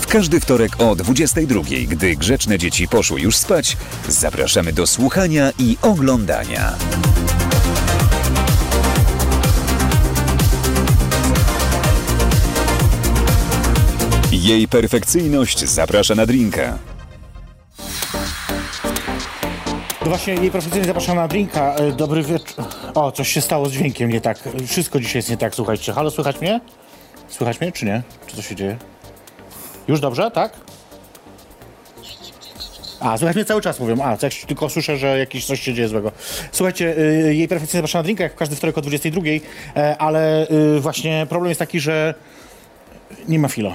W każdy wtorek o 22, gdy grzeczne dzieci poszły już spać, zapraszamy do słuchania i oglądania. Jej perfekcyjność zaprasza na drinka. No właśnie, jej profesjonalnie zapraszam na drinka. E, Dobry wieczór. O, coś się stało z dźwiękiem nie tak. Wszystko dzisiaj jest nie tak, słuchajcie. Halo, słychać mnie? Słychać mnie, czy nie? Czy to się dzieje? Już dobrze, tak? A, słychać mnie cały czas mówią. A, jak tylko słyszę, że jakieś coś się dzieje złego. Słuchajcie, y, jej perfekcyjnie zapraszam na drinka, jak w każdy wtorek o 22, e, ale y, właśnie problem jest taki, że nie ma filo.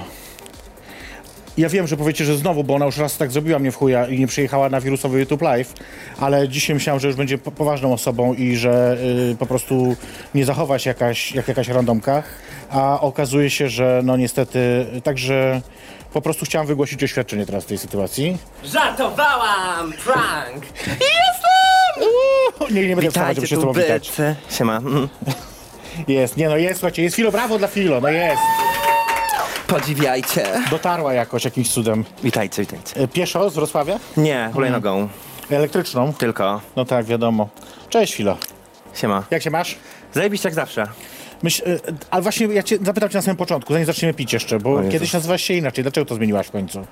Ja wiem, że powiecie, że znowu, bo ona już raz tak zrobiła mnie w chuja i nie przyjechała na wirusowy YouTube Live, ale dzisiaj myślałem, że już będzie po- poważną osobą i że y, po prostu nie zachowa się jakaś, jak jakaś randomka, a okazuje się, że no niestety, także po prostu chciałem wygłosić oświadczenie teraz w tej sytuacji. Żartowałam! Prank! Nie, nie będę wstawać, żeby się z tobą witać. bycy. Siema. Mm. Jest, nie no jest, słuchajcie, jest Filo, brawo dla Filo, no jest. Podziwiajcie. Dotarła jakoś jakimś cudem. Witajcie, witajcie. Y, Pieszo z Wrocławia? Nie, hulajnogą. Elektryczną? Tylko. No tak, wiadomo. Cześć Filo, Siema. jak się masz? Zajebiście jak zawsze. Myśl, e, ale właśnie ja cię zapytam cię na samym początku, zanim zaczniemy pić jeszcze, bo Jezu. kiedyś nazywałaś się inaczej. Dlaczego to zmieniłaś w końcu?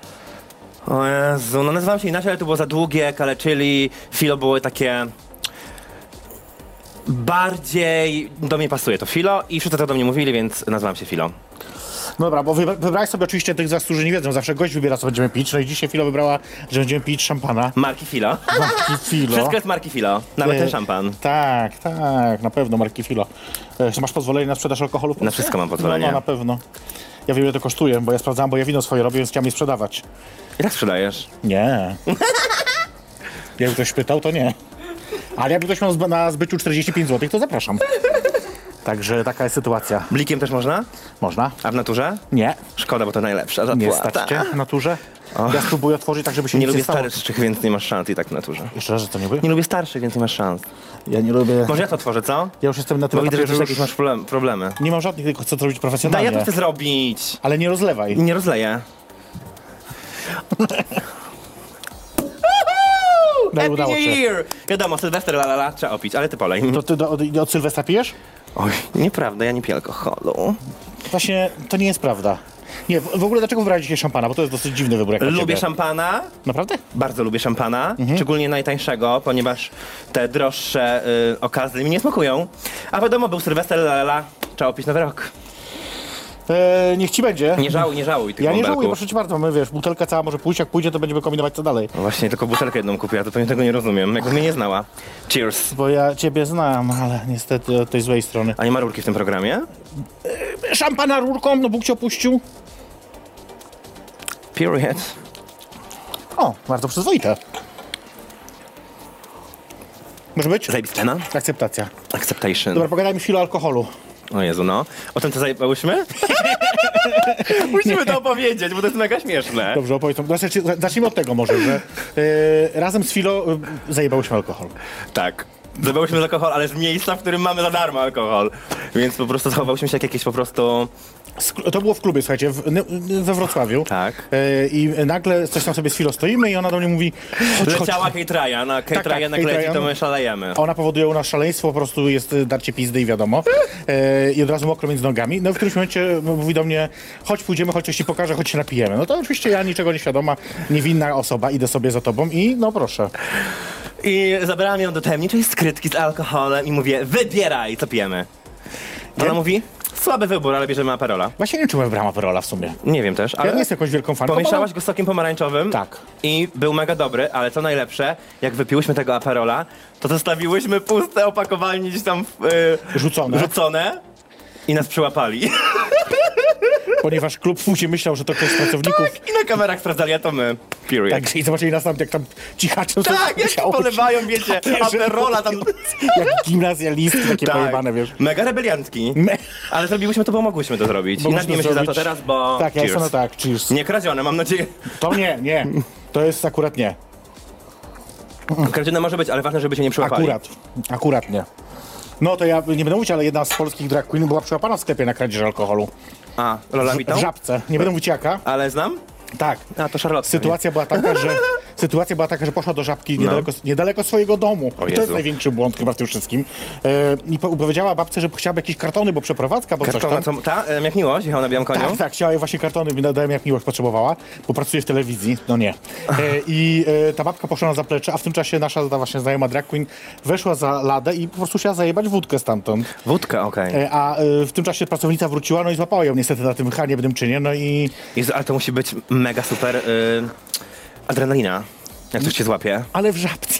O Jezu, no nazywam się inaczej, ale to było za długie, kaleczyli, filo były takie... Bardziej do mnie pasuje to filo i wszyscy to do mnie mówili, więc nazywam się filo. No dobra, bo wybra- wybrałaś sobie oczywiście tych z was, którzy nie wiedzą, zawsze gość wybiera, co będziemy pić, no i dzisiaj Filo wybrała, że będziemy pić szampana. Marki filo. No. Marki Filo. Wszystko jest marki filo. Nawet E, ten szampan. Tak, tak, na pewno, marki Filo. E, czy Masz pozwolenie na sprzedaż alkoholu? w Polsce? wszystko mam pozwolenie. No, no, na pewno. Ja wiem, ile to kosztuje, bo ja sprawdzałam, bo ja wino swoje robię, więc chciałam je sprzedawać. Jak tak sprzedajesz? Nie. Jakby ktoś pytał, to nie. Ale jakby ktoś miał zb- na zbyciu 45 zł, to zapraszam. Także taka jest sytuacja. Blikiem też można? Można? A w naturze? Nie. Szkoda, bo to najlepsza Nie zapłata. stać cię w naturze? Ja spróbuję otworzyć tak, żeby się Nie nic lubię nie stało. starszych, więc nie masz szans i tak w naturze. Jeszcze raz, że to nie były? Nie lubię starszych, więc nie masz szans. Ja nie lubię. Może ja to otworzę, co? Ja już jestem na tym Bo widzę, etapie, że że ty już jakieś masz problem, problemy. nie mam żadnych, tylko chcę to robić Daj, profesjonalnie. ja to chcę zrobić. Ale nie rozlewaj. Nie rozleję. No i Happy udało New się. Year! Wiadomo, Sylwester, la, la, la, trzeba opić, ale ty polej. To ty do, od, od Sylwestra pijesz? Oj, nieprawda, ja nie piję alkoholu. Właśnie to nie jest prawda. Nie, w, w ogóle dlaczego wybrałeś dzisiaj szampana? Bo to jest dosyć dziwny wybór. Jak na Lubię ciebie. Mhm. szampana, Naprawdę? bardzo lubię szampana, szczególnie najtańszego, ponieważ te droższe y, okazy mi nie smakują. A wiadomo, był Sylwester, la, la, la, trzeba opić nowy rok. E, niech ci będzie. Nie żałuj, nie żałuj tych ja nie bąbelków. żałuję, proszę cię bardzo, my wiesz, butelka cała może pójść, jak pójdzie, to będziemy kombinować co dalej. No Właśnie, tylko butelkę jedną kupiła, to pewnie tego nie rozumiem, jakby mnie nie znała. Cheers. Bo ja ciebie znam, ale niestety od tej złej strony. A nie ma rurki w tym programie? Szampana rurką, no Bóg cię opuścił. Period. O, bardzo przyzwoite. Może być? Zajebistena? Akceptacja. Acceptation. Dobra, pogadajmy chwilę o alkoholu. O Jezu, no. O tym co zajebałyśmy? Musimy to opowiedzieć, bo to jest mega śmieszne. Dobrze, opowiedz. Znaczy, zacznijmy od tego może, że y, razem z Filo y, zajebałyśmy alkohol. Tak. Zabałyśmy z alkohol, ale z miejsca, w którym mamy za darmo alkohol. Więc po prostu zachowałyśmy się jak jakieś po prostu... Sk- To było w klubie, słuchajcie, w, n- n- we Wrocławiu. Tak. Y, I nagle coś tam sobie z Filo stoimy i ona do mnie mówi... Chodź, chodź. Leciała Kate Ryan, a Kate Tak, tak, Ryan Kate jak leci, to Ryan. my szalejemy. Ona powoduje u nas szaleństwo, po prostu jest y, darcie pizdy i wiadomo. E, I od razu mokro między nogami. No w którymś momencie m- mówi do mnie, chodź pójdziemy, chodź coś ci pokażę, chodź się napijemy. No to oczywiście ja niczego nieświadoma, niewinna osoba, idę sobie za tobą i no proszę. I zabrałam ją do tajemniczej skrytki z alkoholem i mówię, wybieraj, co pijemy. Ona Nie? mówi, słaby wybór, ale bierzemy Aperola. Właśnie nie wiem, czy byłem brama parola w sumie. Nie wiem też, ale Ja nie jestem jakąś wielką fanką. pomieszałaś go z sokiem pomarańczowym. Tak. I był mega dobry, ale co najlepsze, jak wypiłyśmy tego Aperola, to zostawiłyśmy puste opakowanie gdzieś tam w, y, Rzucone. rzucone i nas przyłapali. ponieważ klub musi myślał, że to ktoś z pracowników. Tak, i na kamerach sprawdzali, a to my. Period. Tak, i zobaczyli nas tam, jak tam cichaczą. sobie Tak, jak musiało się- polewają, wiecie, Takie, że- aperola tam. Jak gimnazjalistki takie Tak. pojebane, wiesz. Mega rebeliantki. Me- Ale zrobiłyśmy to, bo mogłyśmy to zrobić. I Mogliśmy nagniemy się za to zrobić- teraz, bo Tak, ja Cheers. jestem na tak, cheers. Nie kradzione, mam nadzieję. To nie, nie. To jest akurat nie. Kradzione może być, ale ważne, żeby się nie przyłapali. Mm. Akurat. Akurat nie. No to ja nie będę mówić, ale jedna z polskich drag queen była przyłapana w sklepie na kradzież alkoholu. A, Lola W Witą? Żabce. Nie będę mówić jaka. Ale znam? Tak. A, to Charlotte. Sytuacja była taka, że sytuacja była taka, że poszła do żabki niedaleko, niedaleko swojego domu. I to No. Jezu. jest największy błąd chyba w tym wszystkim. E, I po- powiedziała babce, że chciałaby jakieś kartony, bo przeprowadzka, bo coś Kartona, tam. co, ta, em, jak miłość, jechał na białym koniu. Tak, tak, chciała jej właśnie kartony, mi nadałem jak miłość potrzebowała, bo pracuje w telewizji, no nie. E, I e, ta babka poszła na zaplecze, a w tym czasie nasza ta właśnie znajoma drag queen weszła za ladę i po prostu chciała zajebać wódkę stamtąd. Wódka, okej. E, a e, w tym czasie pracownica wróciła, no i złapała ją niestety na tym haniebnym czynie, no i... Jezu, ale to musi być mega super y, adrenalina. Jak coś cię złapie. Ale w żabce,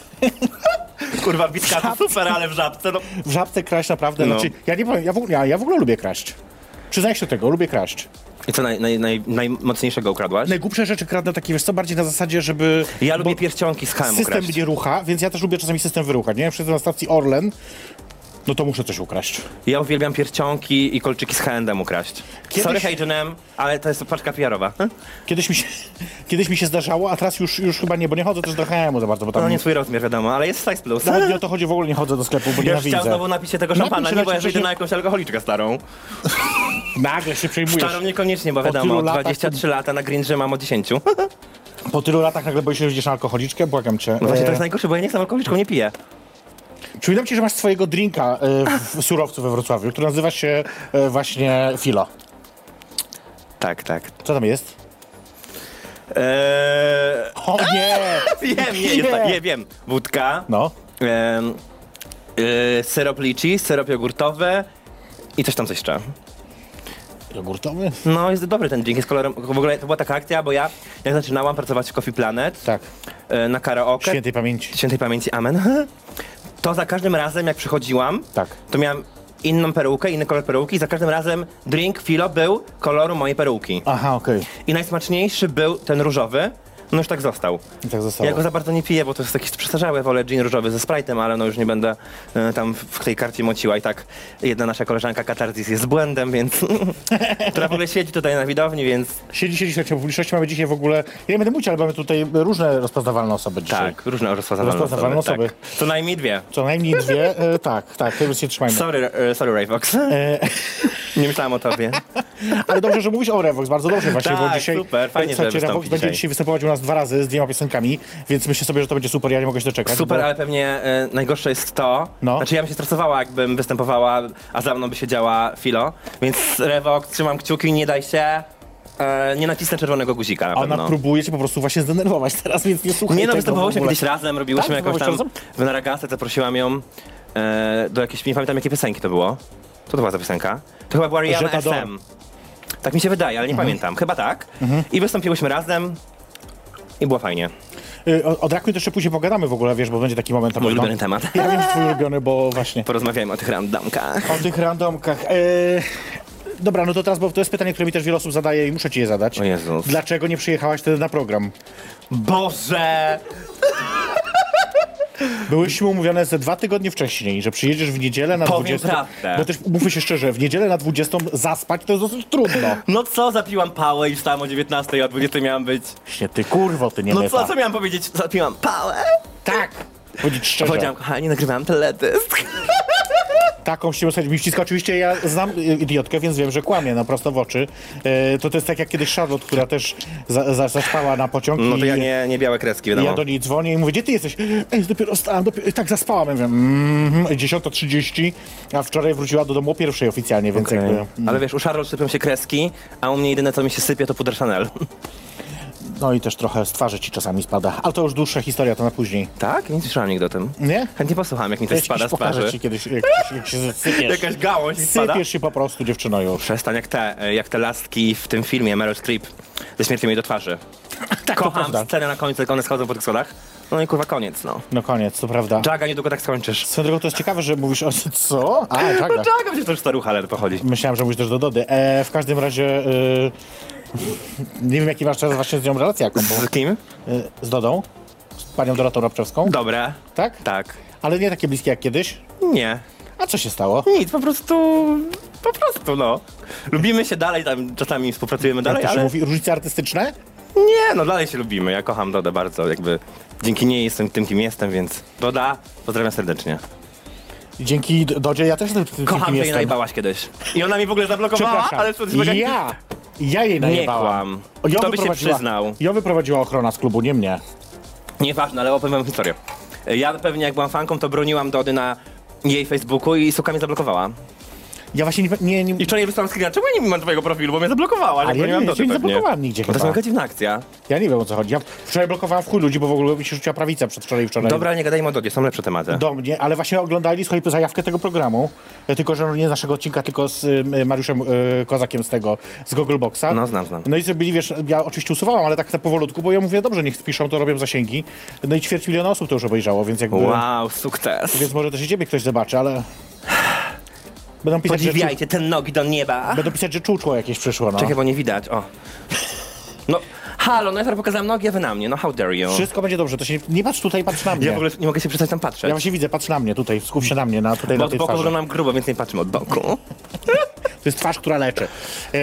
Kurwa, bitka to super, ale w żabce. No. w żabce kraść naprawdę, No. znaczy, ja nie powiem, ja w, ogóle- ja, ja w ogóle lubię kraść. Przyznaję się do tego, lubię kraść. I co naj, naj, naj, najmocniejszego ukradłaś? Najgłupsze rzeczy kradnę takie, wiesz co, bardziej na zasadzie, żeby... Ja bo lubię pierścionki z KM System ukraść. mnie rucha, więc ja też lubię czasami system wyruchać, nie? Przyszedłem na stacji Orlen, no to muszę coś ukraść. Ja uwielbiam pierścionki i kolczyki z H&M ukraść. Kiedyś- Sorry H&M, ale to jest paczka PR-owa. Hm? Kiedyś mi się, kiedyś mi się zdarzało, a teraz już, już chyba nie, bo nie chodzę też do H&M No, za bardzo, bo tam... No nie swój rozmiar wiadomo, ale jest size plus. Nawet nie o to chodzi, w ogóle nie chodzę do sklepu, bo Ja już nienawidzę. chciał znowu napić się tego Napił szampana, się nie, bo ja leci- wyjdę na jakąś alkoholiczkę starą. Nagle się przejmujesz. Starą niekoniecznie, bo Po tylu wiadomo, latach- 23 lata na Green Gym mam od 10. Po tylu latach nagle boisz się, że idziesz na alkoholiczkę? Błagam cię. No właśnie to E, jest najgorsze, bo ja nie jestem alkoholiczką, nie piję. Przypominam ci, że masz swojego drinka e, w surowcu we Wrocławiu, który nazywa się e, właśnie Filo. Tak, tak. Co tam jest? Eee, O nie! wiem, nie, jest Nie. tak, nie, wiem. Wódka, No. em, e, syrop liczy, syrop jogurtowy i coś tam, coś jeszcze. Jogurtowy? No, jest dobry ten drink, jest kolorem. W ogóle to była taka akcja, bo ja jak zaczynałam pracować w Coffee Planet Tak. e, na karaoke, Świętej pamięci. świętej pamięci, amen, to za każdym razem jak przychodziłam, Tak. to miałam inną perukę, inny kolor peruki i za każdym razem drink filo był koloru mojej peruki. Aha, okej. I najsmaczniejszy był ten różowy, no już tak został. I tak zostało. Ja go za bardzo nie piję, bo to jest jakiś przestarzałe, wolę gin różowy ze Sprite'em, ale no już nie będę e, tam w w tej karcie mociła i tak jedna nasza koleżanka Katarzys jest z błędem, więc... która w ogóle siedzi tutaj na widowni, więc Siedzi, siedzi, siedzi. Publiczności mamy dzisiaj w ogóle... Ja nie będę mówić, ale mamy tutaj różne rozpoznawalne osoby dzisiaj. tak, różne rozpoznawalne, Rozpoznawalne osoby. osoby. Tak. Co najmniej dwie. Co najmniej dwie. E, tak, tak. Tego się trzymajmy. Sorry, e, sorry Rayfox. E. Nie myślałem o tobie. Tak Ale dobrze, że mówisz o Revox, bardzo dobrze właśnie, bo Tak, dzisiaj... super, fajnie, że Słuchajcie, wystąpi Revox będzie dzisiaj. dzisiaj występować u nas dwa razy z dwiema piosenkami, więc myślę sobie, że to będzie super, ja nie mogę się doczekać. Super, bo... ale pewnie e, najgorsze jest to, No. znaczy ja bym się stresowała, jakbym występowała, a za mną by siedziała Filo, więc Rewok, trzymam kciuki, nie daj się, e, nie nacisnę czerwonego guzika na Ona pewno. próbuje cię po prostu właśnie zdenerwować teraz, więc nie słuchaj nie no, tego występowałyśmy w ogóle. kiedyś razem, robiłyśmy Tak, jakąś tam występowałyście w Naragance, zaprosiłam ją e, do jakiejś, nie pamiętam jakiej piosenki to było. Co to była za piosenka? To chyba była Rihanna Jetta Dawn. SM. Tak mi się wydaje, ale nie Mhm. pamiętam, chyba tak. I wystąpiłyśmy razem i było fajnie. Y, O, o Draku to jeszcze później pogadamy w ogóle, wiesz, bo będzie taki moment. na Mój pewno. ulubiony temat. Ja wiem, że twój ulubiony, bo właśnie. Porozmawiajmy o tych randomkach. O tych randomkach. E... Dobra, no to teraz, bo to jest pytanie, które mi też wiele osób zadaje i muszę ci je zadać. O Jezus. Dlaczego nie przyjechałaś wtedy na program? Boże! Byłyśmy umówione ze dwa tygodnie wcześniej, że przyjedziesz w niedzielę na Powiem 20. prawdę. Bo też mówmy się szczerze, w niedzielę na 20 zaspać to jest dosyć trudno. No co, zapiłam pałę i wstałam o 19, a o 20 miałam być. Właśnie ty kurwo, ty nie No lepa. co, co miałam powiedzieć? Zapiłam pałę? Tak! Powiedzieć szczerze. Powiedziałam, kochani, nagrywałam teledysk. Taką ściemę sobie mi wciska. Oczywiście ja znam y, idiotkę, więc wiem, że kłamie na prosto w oczy. E, to to jest tak jak kiedyś Charlotte, która też za, za, zaspała na pociąg No to i, ja nie, nie białe kreski, i wiadomo. ja do niej dzwonię i mówię, gdzie ty jesteś? Ej, dopiero stałam, dopiero, tak zaspałam. Ja mówię, mm, 10.30, a wczoraj wróciła do domu o pierwszej oficjalnie, więc Okej. jakby... Ale wiesz, u Charlotte sypią się kreski, a u mnie jedyne co mi się sypie to puder Chanel. No i też trochę z twarzy ci czasami spada. Ale to już dłuższa historia, to na później. Tak? Nie słyszałam nigdy o tym. Nie? Chętnie posłucham, jak mi coś Ja ci spada kiedyś z pokażę twarzy. ci kiedyś, jak, jak się sypiesz. Jakaś gałąź mi spada. Sypiesz się po prostu, dziewczyno, już. Przestań, jak te, jak te lastki w tym filmie Meryl Streep ze śmiercią jej do twarzy. to Kocham prawda. scenę na końcu, jak one schodzą po tych schodach. No i kurwa koniec, no. No koniec, to prawda. Jaga niedługo tak skończysz. Swoją drogą to jest ciekawe, że mówisz o... Co? A, tak. tak. Jaga przecież to już starucha ler pochodzi. Myślałem, że mówisz też do Dody. E, w każdym razie... Y... Nie wiem, jaki masz teraz właśnie z nią relację jaką, bo... Z kim? Y, Z Dodą? Z panią Dorotą Rabczewską? Dobre. tak? Tak. Ale nie takie bliskie jak kiedyś? Nie. A co się stało? Nic, po prostu... Po prostu, no. Lubimy się dalej, tam czasami współpracujemy Jak dalej, to się ale... mówi? Różnice artystyczne? Nie, no dalej się lubimy. Ja kocham Dodę bardzo, jakby... Dzięki niej jestem tym, kim jestem, więc... Doda, pozdrawiam serdecznie. Dzięki D- Dodzie ja też tym tym Kocham, kim że jej jestem. najbałaś kiedyś. I ona mi w ogóle zablokowała, Przepraszam, ale... co- ja! Ja jej najebałam. kłam. O, ją Kto by się wyprowadziła- przyznał? Ją wyprowadziła ochrona z klubu, nie mnie. Nieważne, ale opowiem wam historię. Ja pewnie jak byłam fanką, to broniłam Dody na jej Facebooku i suka mnie zablokowała. Ja właśnie nie... nie, nie I wczoraj wysłałam screena, czemu ja nie mam twojego profilu, bo mnie zablokowała, ale ja nie, broniłam ja Dody się nie pewnie. zablokowałem nigdzie Bo to jest chyba. mega dziwna akcja. Ja nie wiem o co chodzi. Ja wczoraj blokowałem w chuj ludzi, bo w ogóle mi się rzuciła prawica przedwczoraj i wczoraj. Dobra, nie gadajmy o Dodzie, są lepsze tematy. Do mnie, ale właśnie oglądali, słuchaj, zajawkę tego programu, e, tylko że nie z naszego odcinka, tylko z y, Mariuszem y, Kozakiem z tego, z Google Boxa. No, znam, znam. No i zrobili, wiesz, ja oczywiście usuwałam, ale tak na powolutku, bo ja mówię, dobrze, niech piszą, to robią zasięgi. No i ćwierć miliona osób to już obejrzało, więc jakby... Wow, sukces. Więc może też i ciebie ktoś zobaczy, ale... Będą pisać, że, czu- Podziwiajcie ten nogi do nieba. będą pisać, że czuczło jakieś przyszło, no. Czekaj, bo nie widać, o. No, halo, no ja teraz pokazałem nogi, a wy na mnie, no how dare you. Wszystko będzie dobrze, to się... Nie patrz tutaj, patrz na mnie. Ja w ogóle nie mogę się przestać tam patrzeć. Ja właśnie widzę, patrz na mnie tutaj, skup się na mnie, na, tutaj Bo na od tej boku twarzy. wyglądam grubo, więc nie patrzymy od boku. To jest twarz, która leczy. E,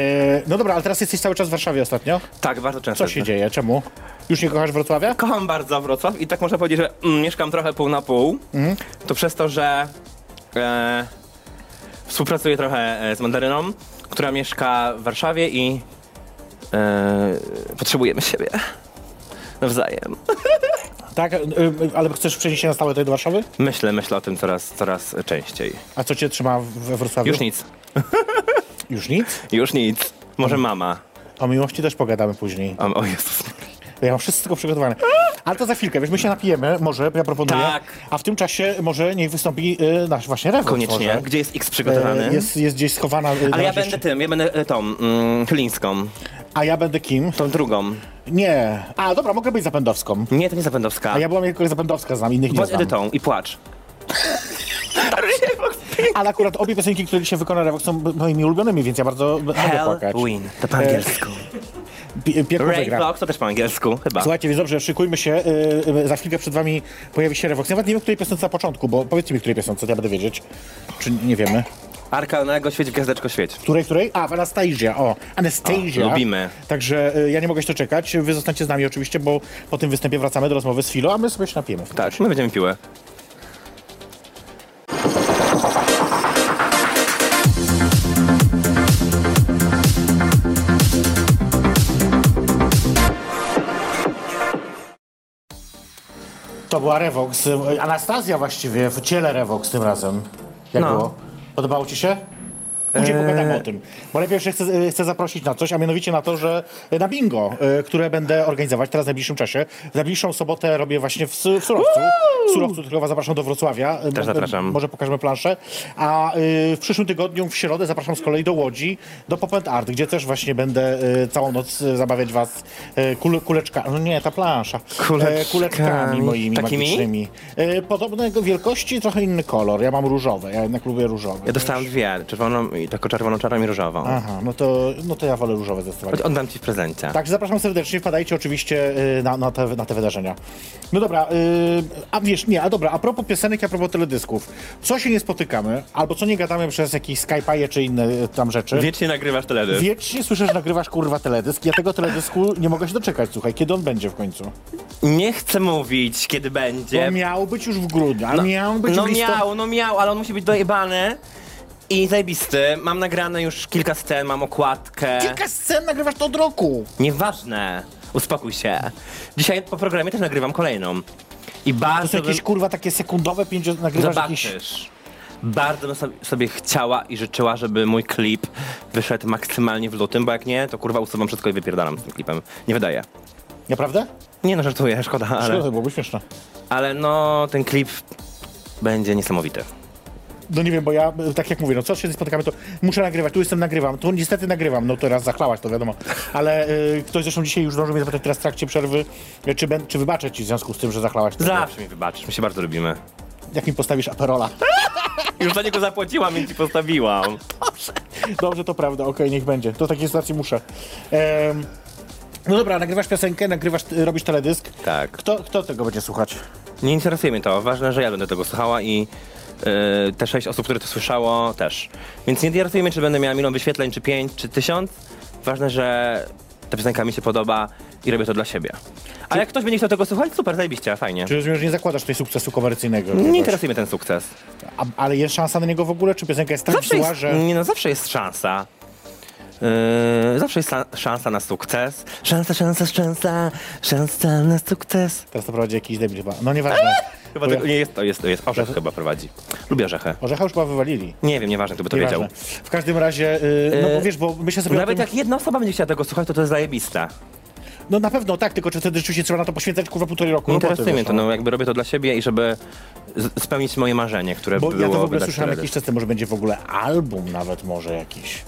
no dobra, ale teraz jesteś cały czas w Warszawie ostatnio. Tak, bardzo często. Co się dzieje? Czemu? Już nie kochasz Wrocławia? Kocham bardzo Wrocław i tak można powiedzieć, że mm, mieszkam trochę pół na pół. Mhm. To przez to, że e, współpracuję trochę e, z Mandaryną, która mieszka w Warszawie i e, potrzebujemy siebie nawzajem. Tak, y, y, ale chcesz przenieść się na stałe tutaj do Warszawy? Myślę, myślę o tym coraz, coraz częściej. A co cię trzyma w- we Wrocławiu? Już nic, Już nic? już nic. Mm. Może mama. O miłości też pogadamy później. O, o Jezus. Ja mam wszystko przygotowane. Ale to za chwilkę, wiesz, my się napijemy, może, ja proponuję. Tak. A w tym czasie może niech wystąpi y, nasz właśnie rewers. Koniecznie. Może. Gdzie jest X E, przygotowany? Jest, jest gdzieś schowana. y, na Ale ja razie będę jeszcze- tym, ja będę e, tą, mm, Chylińską, A ja będę kim? tą drugą. Nie. A dobra, mogę być zapędowską. Nie, to nie Zapędowska. A ja byłam tylko zapędowska, znam innych nie Bądź znam. Edytą i płacz. Ale akurat obie piosenki, które dzisiaj wykona Rewox są moimi ulubionymi, więc ja bardzo b- będę płakać. E, Halloween, to po angielsku. Pi- Piekło Ray wygra. Fox to też po angielsku, chyba. Słuchajcie, więc dobrze, szykujmy się. y, y, za chwilkę przed wami pojawi się Revox. Nawet nie wiem, której piosence na początku, bo powiedzcie mi, której piosence, to ja będę wiedzieć. Czy nie wiemy? Arka Onego, świeć, gwiazdeczko, świeć. Której, której? A, w Anastasia, o. Anastasia. O, lubimy. Także y, ja nie mogę się doczekać. Wy zostańcie z nami oczywiście, bo po tym występie wracamy do rozmowy z Filo, a my sobie się napijemy. Tak, my będziemy piły. To była Revox. y, Anastazja właściwie, w ciele Revox tym razem. Jak No. Eee. było? Podobało ci się? Później pogadamy o tym. Bo najpierw jeszcze chcę, y, chcę zaprosić na coś, a mianowicie na to, że y, na bingo, y, które będę organizować teraz w najbliższym czasie. W najbliższą sobotę robię właśnie w, Su- w Surowcu. W Surowcu tylko was zapraszam do Wrocławia. Y, Też mo- zapraszam. Może pokażemy planszę. A y, w przyszłym tygodniu, w środę, zapraszam z kolei do Łodzi, do Pop and Art, gdzie też właśnie będę y, całą noc y, zabawiać was y, kule, kuleczkami. No nie, ta plansza. Kuleczkami. E, kuleczkami moimi Takimi? magicznymi. E, podobnego wielkości, trochę inny kolor. Ja mam różowe, ja jednak lubię różowe. Ja dostałem dwie, czerwoną i taką czerwoną, czarną i różową. Aha, no to, no to ja wolę różowe zdecydowanie. Choć oddam ci w prezencie. Także zapraszam serdecznie, wpadajcie oczywiście y, na, na, te, na te wydarzenia. No dobra, y, a wiesz, nie, a dobra, a propos piosenek, a propos teledysków. Co się nie spotykamy, albo co nie gadamy przez jakieś Skype'e czy inne y, tam rzeczy. Wiecznie nagrywasz teledy. Wiecznie słyszę, że nagrywasz kurwa teledysk. Ja tego teledysku nie mogę się doczekać, słuchaj, kiedy on będzie w końcu? Nie chcę mówić, kiedy Bo będzie. miał być już w grudniu, a miał być No w listopadzie. miał, no miał, ale on musi być dojebany. I zajebisty. Mam nagrane już kilka scen, mam okładkę. Kilka scen nagrywasz to od roku. Nieważne. Uspokój się. Dzisiaj po programie też nagrywam kolejną. I To są bardzo bym... jakieś kurwa takie sekundowe pięcio... nagrywasz Zobaczysz. jakieś... Bardzo bym so- sobie chciała i życzyła, żeby mój klip wyszedł maksymalnie w lutym, bo jak nie, to kurwa usuwam wszystko i wypierdalam z tym klipem. Nie wydaje. Naprawdę? Nie no, żartuję, szkoda, Ale... ale, To byłoby śmieszne. ale no ten klip będzie niesamowity. no nie wiem, bo ja, e, tak jak mówię, no co się spotykamy, to muszę nagrywać, tu jestem, nagrywam, tu niestety nagrywam, no teraz zachlałaś, to wiadomo, ale e, ktoś zresztą dzisiaj już zdążył mnie zapytać teraz w trakcie przerwy, e, czy, ben, czy wybaczę ci w związku z tym, że zachlałaś. Zawsze mi wybaczysz, my się bardzo lubimy. Jak mi postawisz aperola. Już za niego zapłaciłam i ci postawiłam. Dobrze, to prawda, okej, niech będzie. To takiej sytuacji muszę. Em, no dobra, nagrywasz piosenkę, nagrywasz, y, robisz teledysk. Tak. Kto, kto tego będzie słuchać? Nie interesuje mnie to. Ważne, że ja będę tego słuchała i yy, te sześć osób, które to słyszało też. Więc nie interesuje mnie, czy będę miała milion wyświetleń, czy pięć, czy tysiąc. Ważne, że ta piosenka mi się podoba i robię to dla siebie. A jak ktoś będzie chciał tego słuchać, super, zajebiście, fajnie. Czy rozumiem, że nie zakładasz tutaj sukcesu komercyjnego? Nie jakiegoś? interesuje mnie ten sukces. A, ale jest szansa na niego w ogóle? Czy piosenka jest tak Zawsze zła, jest, że... nie, no, zawsze jest szansa. Yy, zawsze jest sa- szansa na sukces. Szansa, szansa, szansa, szansa na sukces. Teraz to prowadzi jakiś debil chyba. No nieważne. Chyba Bo tego ja... nie jest, to jest, to jest orzech chyba prowadzi. Lubię orzechę. Orzecha już chyba wywalili. Nie wiem, nieważne, kto by to wiedział. Nieważne. W każdym razie, y, no bo E, wiesz, bo myślę sobie Nawet o jak tym... jedna osoba będzie chciała tego słuchać, to to jest zajebiste. No na pewno tak, tylko czy wtedy rzeczywiście trzeba na to poświęcać kurwa półtorej roku? Nie roboty, interesuje mnie wiesz, to, no jakby robię to dla siebie i żeby z- spełnić moje marzenie, które Bo było ja to w ogóle wydać słyszałem teledysk. jakiś czas temu, że będzie w ogóle album nawet może jakiś.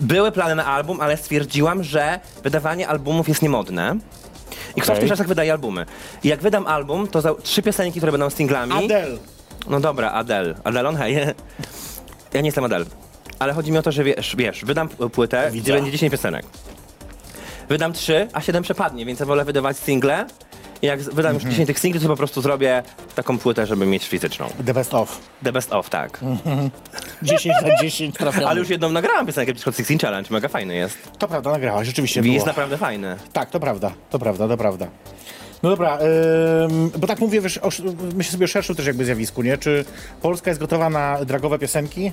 Były plany na album, ale stwierdziłam, że wydawanie albumów jest niemodne. I kto w Okej. tych czasach wydaje albumy? I jak wydam album, to za trzy piosenki, które będą singlami... Adel! No dobra, Adel. Adelon, hej. Ja nie jestem Adel. Ale chodzi mi o to, że wiesz, wiesz wydam p- płytę, Widzę. gdzie będzie 10 piosenek. Wydam 3, a 7 przepadnie, więc ja wolę wydawać single. I jak z- wydam Mhm. już 10 tych singli, to po prostu zrobię taką płytę, żeby mieć fizyczną. The best of. The best of, tak. Mhm. 10 na 10 trafiony. Ale już jedną nagrałam piosenkę Discord 16 Challenge, mega fajny jest. To prawda, nagrałaś, rzeczywiście I było. jest naprawdę fajny. Tak, to prawda, to prawda, to prawda. No dobra, ym, bo tak mówię, wiesz, o, sz- myślę sobie o szerszym też jakby zjawisku, nie? Czy Polska jest gotowa na dragowe piosenki?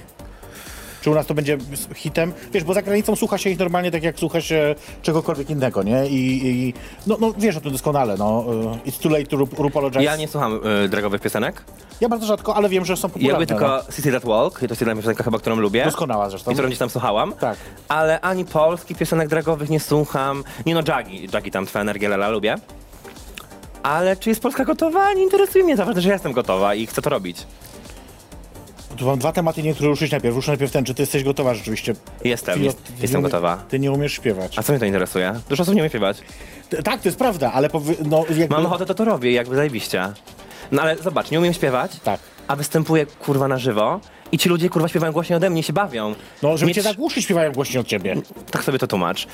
Czy u nas to będzie s- hitem? Wiesz, bo za granicą słucha się ich normalnie tak, jak słucha się czegokolwiek innego, nie? I, i no, no wiesz o tym doskonale, no. y, It's too late to ru- apologize. Ja nie słucham y, dragowych piosenek. ja bardzo rzadko, ale wiem, że są Ja popularne. lubię no. tylko City That Walk, to jest jedna piosenka chyba, którą lubię. Doskonała zresztą. I którą gdzieś tam słuchałam. Tak. Ale ani polskich piosenek dragowych nie słucham. Nie no, Jagi, Jagi tam, twoja energia, lala, lubię. Ale czy jest Polska gotowa? Nie interesuje mnie, zawsze, że ja jestem gotowa i chcę to robić. Tu mam dwa tematy, nie, które ruszyć najpierw. Ruszę najpierw ten, czy ty jesteś gotowa rzeczywiście? Jestem, Ty- jest, ty nie jestem umie- gotowa. Ty nie umiesz śpiewać. A co mnie to interesuje? Dużo osób nie umie śpiewać. T- Tak, to jest prawda, ale powy... no jakby... Mam ochotę, to to robię, jakby zajebiście. No ale zobacz, nie umiem śpiewać, Tak. a występuję kurwa na żywo i ci ludzie kurwa śpiewają głośniej ode mnie i się bawią. No, żeby Nie cię trz- zagłuszyć, śpiewają głośniej od ciebie. Tak sobie to tłumacz.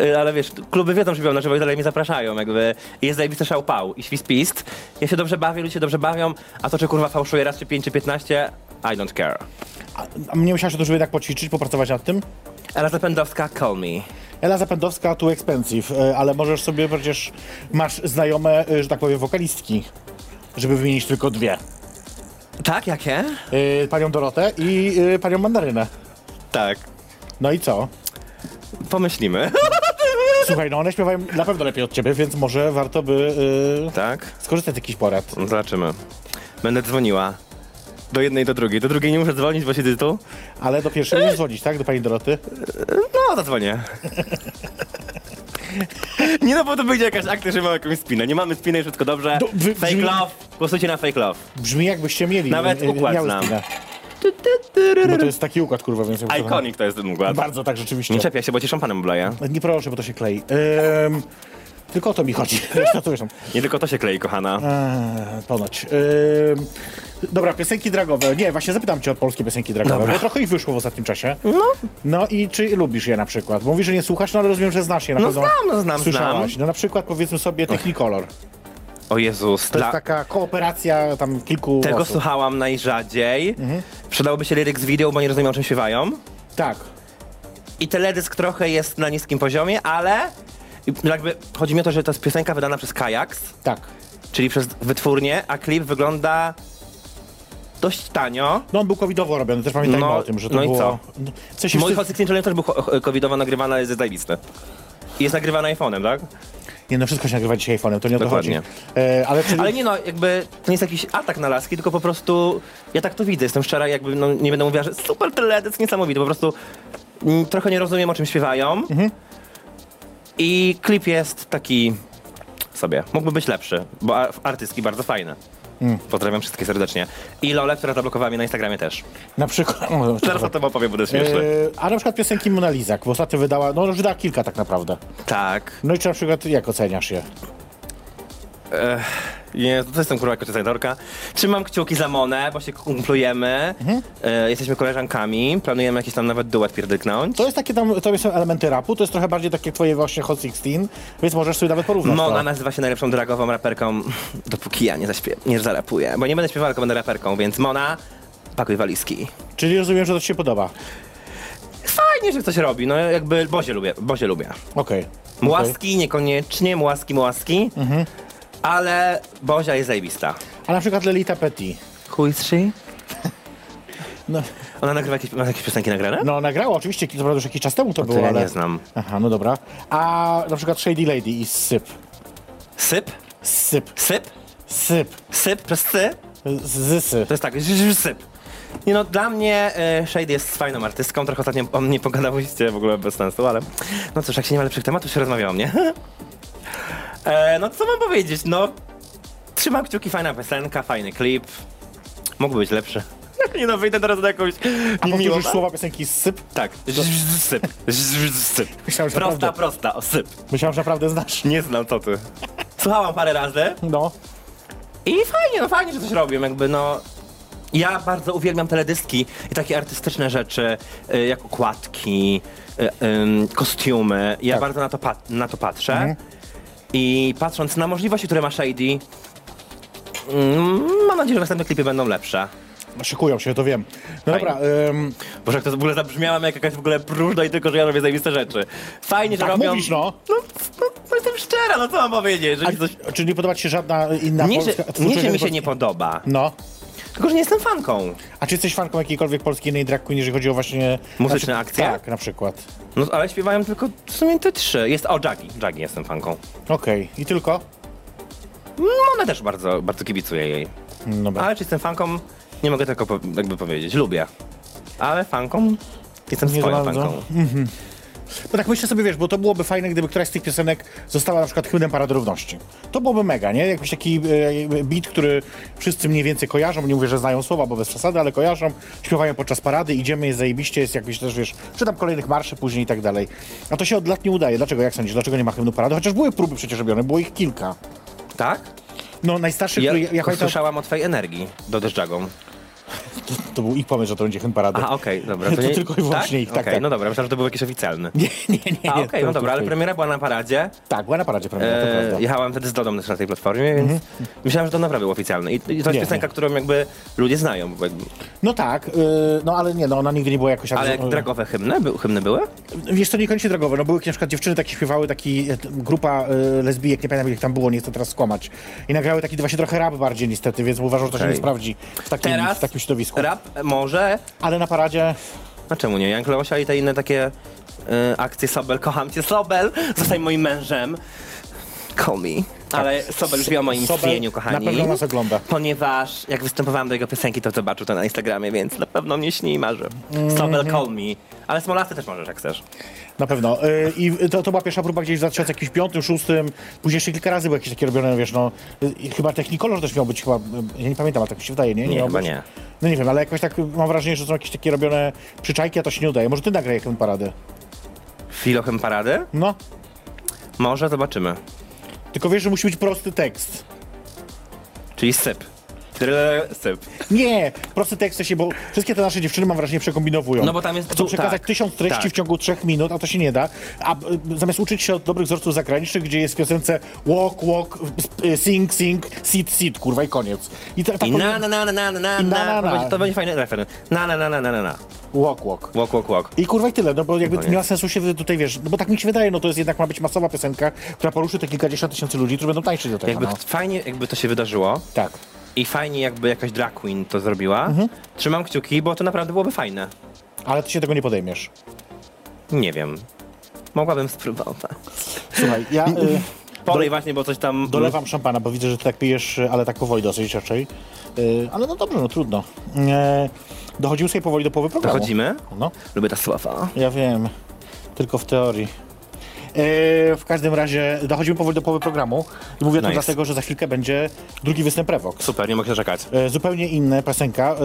Y, Ale wiesz, kluby wiedzą, że biorą na żywo i dalej mnie zapraszają, jakby jest zajebisty szałpał i świspist. Ja się dobrze bawię, ludzie się dobrze bawią, a to czy kurwa fałszuje raz czy 5 czy 15, I don't care. A, a mnie musiałaś o to, żeby jednak poćwiczyć, popracować nad tym? Ela Zapędowska, call me. Ela Zapędowska, tu expensive, e, ale możesz sobie przecież, masz znajome, e, że tak powiem, wokalistki, żeby wymienić tylko dwie. Tak, jakie? E, Panią Dorotę i e, panią Mandarynę. Tak. No i co? Pomyślimy. Słuchaj, no one śpiewają na pewno lepiej od ciebie, więc może warto by e, tak? skorzystać z jakichś porad. No, Zobaczymy. Będę dzwoniła. Do jednej, do drugiej. Do drugiej nie muszę dzwonić, bo siedzę tu. Ale do pierwszej nie dzwonić, tak? Do pani Doroty? No, zadzwonię. nie no, bo to będzie jakaś akcja, że mamy jakąś spinę. Nie mamy spiny, wszystko dobrze. Do- wy- fake brzmi- love. Głosujcie na fake love. Brzmi jakbyście mieli. Nawet e, e, układ miały znam. spinę. Bo to jest taki układ, kurwa, więc... jakby to- Iconic to jest ten układ. Bardzo tak, rzeczywiście. Nie czepiaj się, bo ci szampanem obleję. Nie proszę, bo to się klei. Ym, tylko o to mi chodzi. Reszta to wieszam. Nie tylko to się klei, kochana. Eee, ponoć. Ym, dobra, piosenki dragowe. Nie, właśnie zapytam cię o polskie piosenki dragowe, Dobra. bo trochę ich wyszło w ostatnim czasie. No. No i czy lubisz je na przykład? Bo mówisz, że nie słuchasz, no ale rozumiem, że znasz je na No pewno. znam, no znam, Słyszałaś. No na przykład powiedzmy sobie Technicolor. O Jezus, To dla... jest taka kooperacja tam kilku tego osób. słuchałam najrzadziej. Mhm. Przydałoby się liryk z wideo, bo nie rozumiem, o czym śpiewają. Tak. I teledysk trochę jest na niskim poziomie, ale jakby chodzi mi o to, że to jest piosenka wydana przez Kajaks, Tak. czyli przez wytwórnię, a klip wygląda dość tanio. No on był covidowo robiony, też pamiętajmy No, o tym, że to no i było... co? No, w sensie Mój wszyscy- Hot Sixteen Challenge też był cho- covidowo nagrywany, ale jest zajebisty. I jest nagrywany iPhone'em, tak? Nie no, wszystko się nagrywa dzisiaj iPhone'em, to nie o to chodzi. Dokładnie. E, ale, czyli... Ale nie no, jakby to nie jest jakiś atak na laski, tylko po prostu ja tak to widzę, jestem szczera, jakby no, nie będę mówiła, że super teledysk, niesamowity, po prostu mm, trochę nie rozumiem o czym śpiewają. I klip jest taki sobie, mógłby być lepszy, bo a- artystki bardzo fajne. Pozdrawiam wszystkich serdecznie. I Lole, która zablokowała mnie na Instagramie też. Na przykład... o, Zaraz o tym opowiem, bo to jest śmieszne. E, a na przykład piosenki Mona Lizak, bo ostatnio wydała, no wydała kilka tak naprawdę. Tak. No i czy na przykład jak oceniasz je? Nie, to jestem kurwa jako designerka. Trzymam kciuki za Monę, bo się kumplujemy. E, jesteśmy koleżankami. Planujemy jakiś tam nawet duet pierdyknąć. To jest takie tam, to są elementy rapu, to jest trochę bardziej takie twoje właśnie Hot 16, więc możesz sobie nawet porównać tak? Mona to. nazywa się najlepszą dragową raperką, dopóki ja nie, zaśpie- nie zarapuję. Bo nie będę śpiewał, tylko będę raperką, więc Mona, pakuj walizki. Czyli rozumiem, że to ci się podoba. Fajnie, że coś robi, no jakby Bozie lubię, Bozie lubię. Okej. Młaski niekoniecznie, młaski, młaski, Mhm. ale Bozia jest zajebista. A na przykład Lelita Petit. Who is she? No, Ona nagrywa jakieś, ma jakieś piosenki nagrane? no nagrała oczywiście, to prawda już jakiś czas temu to to było, ja ale... nie znam. Aha, no dobra. A na przykład Shady Lady i Syp. Syp? Syp. Syp? Syp. Syp? Przez sy? Zysy. To jest tak, ż- ż- syp. Nie no, dla mnie e, Shade jest fajną artystką, trochę ostatnio o mnie pogadałyście, w ogóle bez sensu, ale no cóż, jak się nie ma lepszych tematów, się rozmawia o mnie. e, no co mam powiedzieć, no trzymam kciuki, fajna piosenka, fajny klip, mógłby być lepszy. nie no, wyjdę teraz na jakąś A niemiłą... powtórzysz słowa piosenki Syp? Tak, ż- ż- syp, ż- ż- syp. Myślałem, że Prosta, naprawdę. prosta, o, syp. Myślałem, że naprawdę znasz. Nie znam, co ty. Słuchałam parę razy. No. I fajnie, no fajnie, że coś robią, jakby no... Ja bardzo uwielbiam teledyski i takie artystyczne rzeczy, y, jak okładki, y, ym, kostiumy. Ja Tak. Mhm. bardzo na to, pat- na to patrzę. I patrząc na możliwości, które ma Shady, mm, mam nadzieję, że następne klipy będą lepsze. No, Szykują się, to wiem. No Fajnie. dobra, ym, Boże, jak to w ogóle zabrzmiałem jak jakaś w ogóle próżna i tylko, że ja robię zajebiste rzeczy. Fajnie, tak że robią... mówisz, no. No, no, no jestem szczera, no co mam powiedzieć, że A, mi coś... Czy nie podoba ci się żadna inna Nie, że, polska nie, że mi twórczość- się nie podoba, No. tylko, że nie jestem fanką. A czy jesteś fanką jakiejkolwiek polskiej innej drag queen, jeżeli chodzi o właśnie... Muzyczne na przykład- akcje? Tak, na przykład. No ale śpiewają tylko w sumie te trzy. Jest, o, Jagi. Jagi jestem fanką. Okej. I tylko? No ona też bardzo, bardzo kibicuje jej. Mm, Dobra. Ale czy jestem fanką? Nie mogę tego po, jakby powiedzieć. Lubię. Ale fanką? Jestem Nie swoją bardzo. fanką. Bo tak myślę sobie, wiesz, bo to byłoby fajne, gdyby któraś z tych piosenek została na przykład hymnem Parady Równości. To byłoby mega, nie? Jakiś taki e, beat, który wszyscy mniej więcej kojarzą, nie mówię, że znają słowa, bo bez przesady, ale kojarzą, śpiewają podczas parady, idziemy, jest zajebiście, jest jakiś też, wiesz, czytam kolejnych marszy później i tak dalej. A to się od lat nie udaje. Dlaczego, jak sądzisz, dlaczego nie ma hymnu Parady? Chociaż były próby przecież robione, było ich kilka. Tak? No, najstarszy, Ja, który ja, ja pamiętam, słyszałam o twojej energii do The Jagą. to, to był ich pomysł, że to będzie hymn Parady. Aha, okej, dobra. To tylko i wyłącznie ich, tak, Okej, tak. no dobra, myślałem, że to był jakiś oficjalny. Nie, nie, nie. nie A okej, to- no to- dobra, ale to- premiera była na paradzie. Tak, była na paradzie premiera, to E, prawda. jechałem wtedy z Dodą też na tej platformie, więc myślałem, że to naprawdę był oficjalny. I, i to jest Nie, piosenka, którą jakby ludzie znają. bo jakby- No tak, y, no ale nie, no ona nigdy nie była jakoś... Ale jak- jak dragowe hymny, by, hymny były? Wiesz, to niekoniecznie drogowe. No były na przykład dziewczyny takie śpiewały, taki e, t- grupa y, lesbijek, nie pamiętam jak tam było, nie chcę teraz skłamać. I nagrały taki właśnie trochę rap bardziej niestety, więc uważam, że to się Okej. nie sprawdzi w takim, Teraz w takim środowisku. rap może, Ale na paradzie no czemu nie, Jank Leosia i te inne takie y, akcje Sobel, kocham cię Sobel, zostań moim mężem, call me. Ale Sobel już wie o moim Sobel istnieniu, na kochani. pewno nas ogląda. Ponieważ jak występowałam do jego piosenki, to zobaczył to na Instagramie, więc na pewno mnie śni i marzy. Sobel, call me. Ale Smolasy też możesz, jak chcesz. na pewno. Y, I to, to była pierwsza próba gdzieś w 2005, 2006, później jeszcze kilka razy były jakieś takie robione, wiesz, no. y, i Chyba Technicolor też miał być chyba, y, ja nie pamiętam, ale tak mi się wydaje, nie? Nie, miał chyba być? nie. No nie wiem, ale jakoś tak y, mam wrażenie, że są jakieś takie robione przyczajki, a to się nie udaje. Może ty nagraj jakąś paradę. Filochem parady? No. Może, zobaczymy. Tylko wiesz, że musi być prosty tekst. Czyli syp. Tyle syp. Nie, prosty tekst w sensie, bo wszystkie te nasze dziewczyny mam wrażenie przekombinowują. No bo tam jest- Chcą tu- przekazać tak, tysiąc treści tak. w ciągu trzech minut, a to się nie da. A y, zamiast uczyć się od dobrych wzorców zagranicznych, gdzie jest w piosence walk, walk, y, sing, sing, sit, sit, kurwa i koniec. I ta, ta I na na na na na na na, na, na. na. To będzie- To będzie fajny referen. Na na na na na na na. Walk, walk. Walk, walk, walk. I kurwa i tyle, no bo jakby Koniec. nie ma sensu się tutaj, wiesz, no bo tak mi się wydaje, no to jest jednak ma być masowa piosenka, która poruszy te kilkadziesiąt tysięcy ludzi, którzy będą tańczyć do tego, Jakby no. ch- fajnie jakby to się wydarzyło Tak. i fajnie jakby jakaś drag queen to zrobiła. Mhm. Trzymam kciuki, bo to naprawdę byłoby fajne. Ale ty się tego nie podejmiesz. Nie wiem. Mogłabym spróbować. Słuchaj, ja... Y, Polej właśnie, bo coś tam... Dolewam szampana, bo widzę, że ty tak pijesz, ale tak powoli dosyć raczej. Yy, ale no dobrze, no trudno. Yy, dochodzimy sobie powoli do połowy programu. Dochodzimy? No, Lubię ta sława. ja wiem. Tylko w teorii. E, w każdym razie dochodzimy powoli do połowy programu i mówię to Nice. dlatego, że za chwilkę będzie drugi występ Revox. Super, nie mogę się czekać. E, Zupełnie inna piosenka,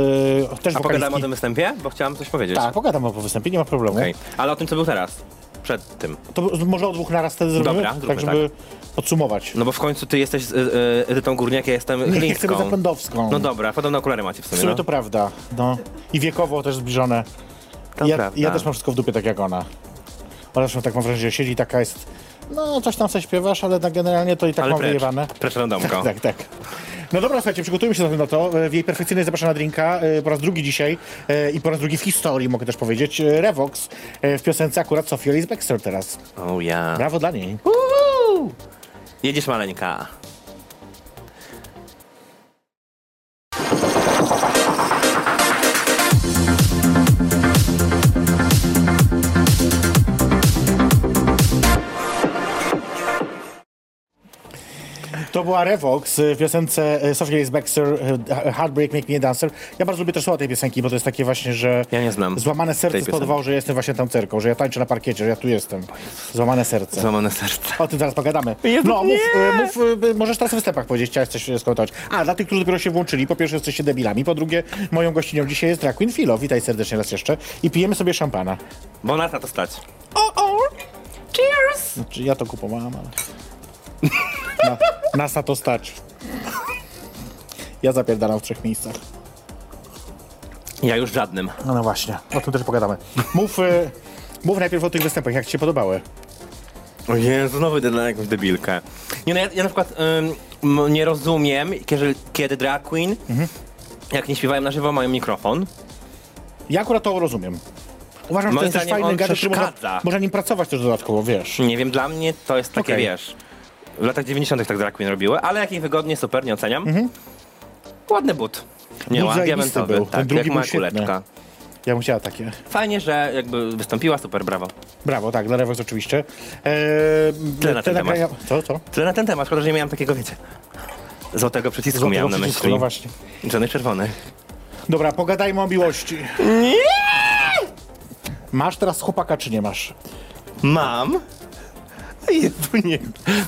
e, też A pogadamy o wokalistki. tym występie? Bo chciałem coś powiedzieć. Tak, pogadamy o występie, nie ma problemu. Okej. Ale o tym, co był teraz. Przed tym. To może o dwóch naraz wtedy zrobimy, Dobra, zróbmy tak żeby podsumować. No bo w końcu ty jesteś z y, y, Edytą Górniak, ja jestem Nie, ja chcę być Glińską. zapędowską. No dobra, podobno okulary macie w W sumie, sumie no. to prawda, no. I wiekowo też zbliżone. To Ja, prawda. ja też mam wszystko w dupie, tak jak ona. Ona zresztą tak mam wrażenie, że siedzi taka jest, no coś tam sobie śpiewasz, ale tak generalnie to i tak Ale mam precz, wyjewane. precz randomko. Tak, tak. No dobra, słuchajcie, przygotujmy się zatem na to. E, W jej perfekcyjnej zapraszam na drinka e, po raz drugi dzisiaj e, i po raz drugi w historii, mogę też powiedzieć, e, Revox e, w piosence akurat Sophie Elise Baxter teraz. Oh ja. Brawo dla niej. Uh. Jedziesz maleńka. To była Revox e, w piosence e, Sophie Elise Baxter e, Heartbreak Make Me a Dancer. Ja bardzo lubię też słowa tej piosenki, bo to jest takie właśnie, że Ja nie znam złamane serce tej piosenki. spowodowało, że jestem właśnie tancerką, że ja tańczę na parkiecie, że ja tu jestem. Złamane serce. Złamane serce. O tym zaraz pogadamy. Jezu, no, mów, nie! y, mów, y, y, możesz teraz w występach powiedzieć, chciałeś coś y, skomentować. A, dla tych, którzy dopiero się włączyli, po pierwsze jesteście debilami, po drugie moją gościnią dzisiaj jest drag queen Filo. Witaj serdecznie raz jeszcze. I pijemy sobie szampana. Bo na to stać. Znaczy, ja to kupowałam, ale... Na, nas na to stać. Ja zapierdalam w trzech miejscach. Ja już żadnym. No, no właśnie, o tym też pogadamy. Mów, y, mów najpierw o tych występach, jak ci się podobały. O Jezu, znowu idę na jakąś debilkę. Nie, no ja, ja na przykład ym, m- nie rozumiem, kiedy, kiedy drag queen, Mhm. jak nie śpiewają na żywo, mają mikrofon. Ja akurat to rozumiem. Uważam, że to Moim jest też zdaniem fajny on gadżet, że można, przeszkadza. można nim pracować też dodatkowo, wiesz. Nie wiem, dla mnie to jest takie, Okej. wiesz, w latach 90 tak drag queen robiły, ale jak jej wygodnie, super, nie oceniam. Mhm. Ładny but. Nie, But ładny, zajebisty diamentowy, był, ten tak, drugi jak był moja świetny. kuleczka. Ja bym chciała takie. Fajnie, że jakby wystąpiła, super, brawo. Brawo, tak, dla Revox oczywiście. Eee, Tyle na ten temat. nagrania- Co, co? Tyle na ten temat, szkoda, że nie miałem takiego, wiecie, złotego przycisku Złotego miałem na przycisku, myśli. No właśnie. Żony czerwony. Dobra, pogadajmy o miłości. Masz teraz chłopaka, czy nie masz? Mam. Jezu, nie.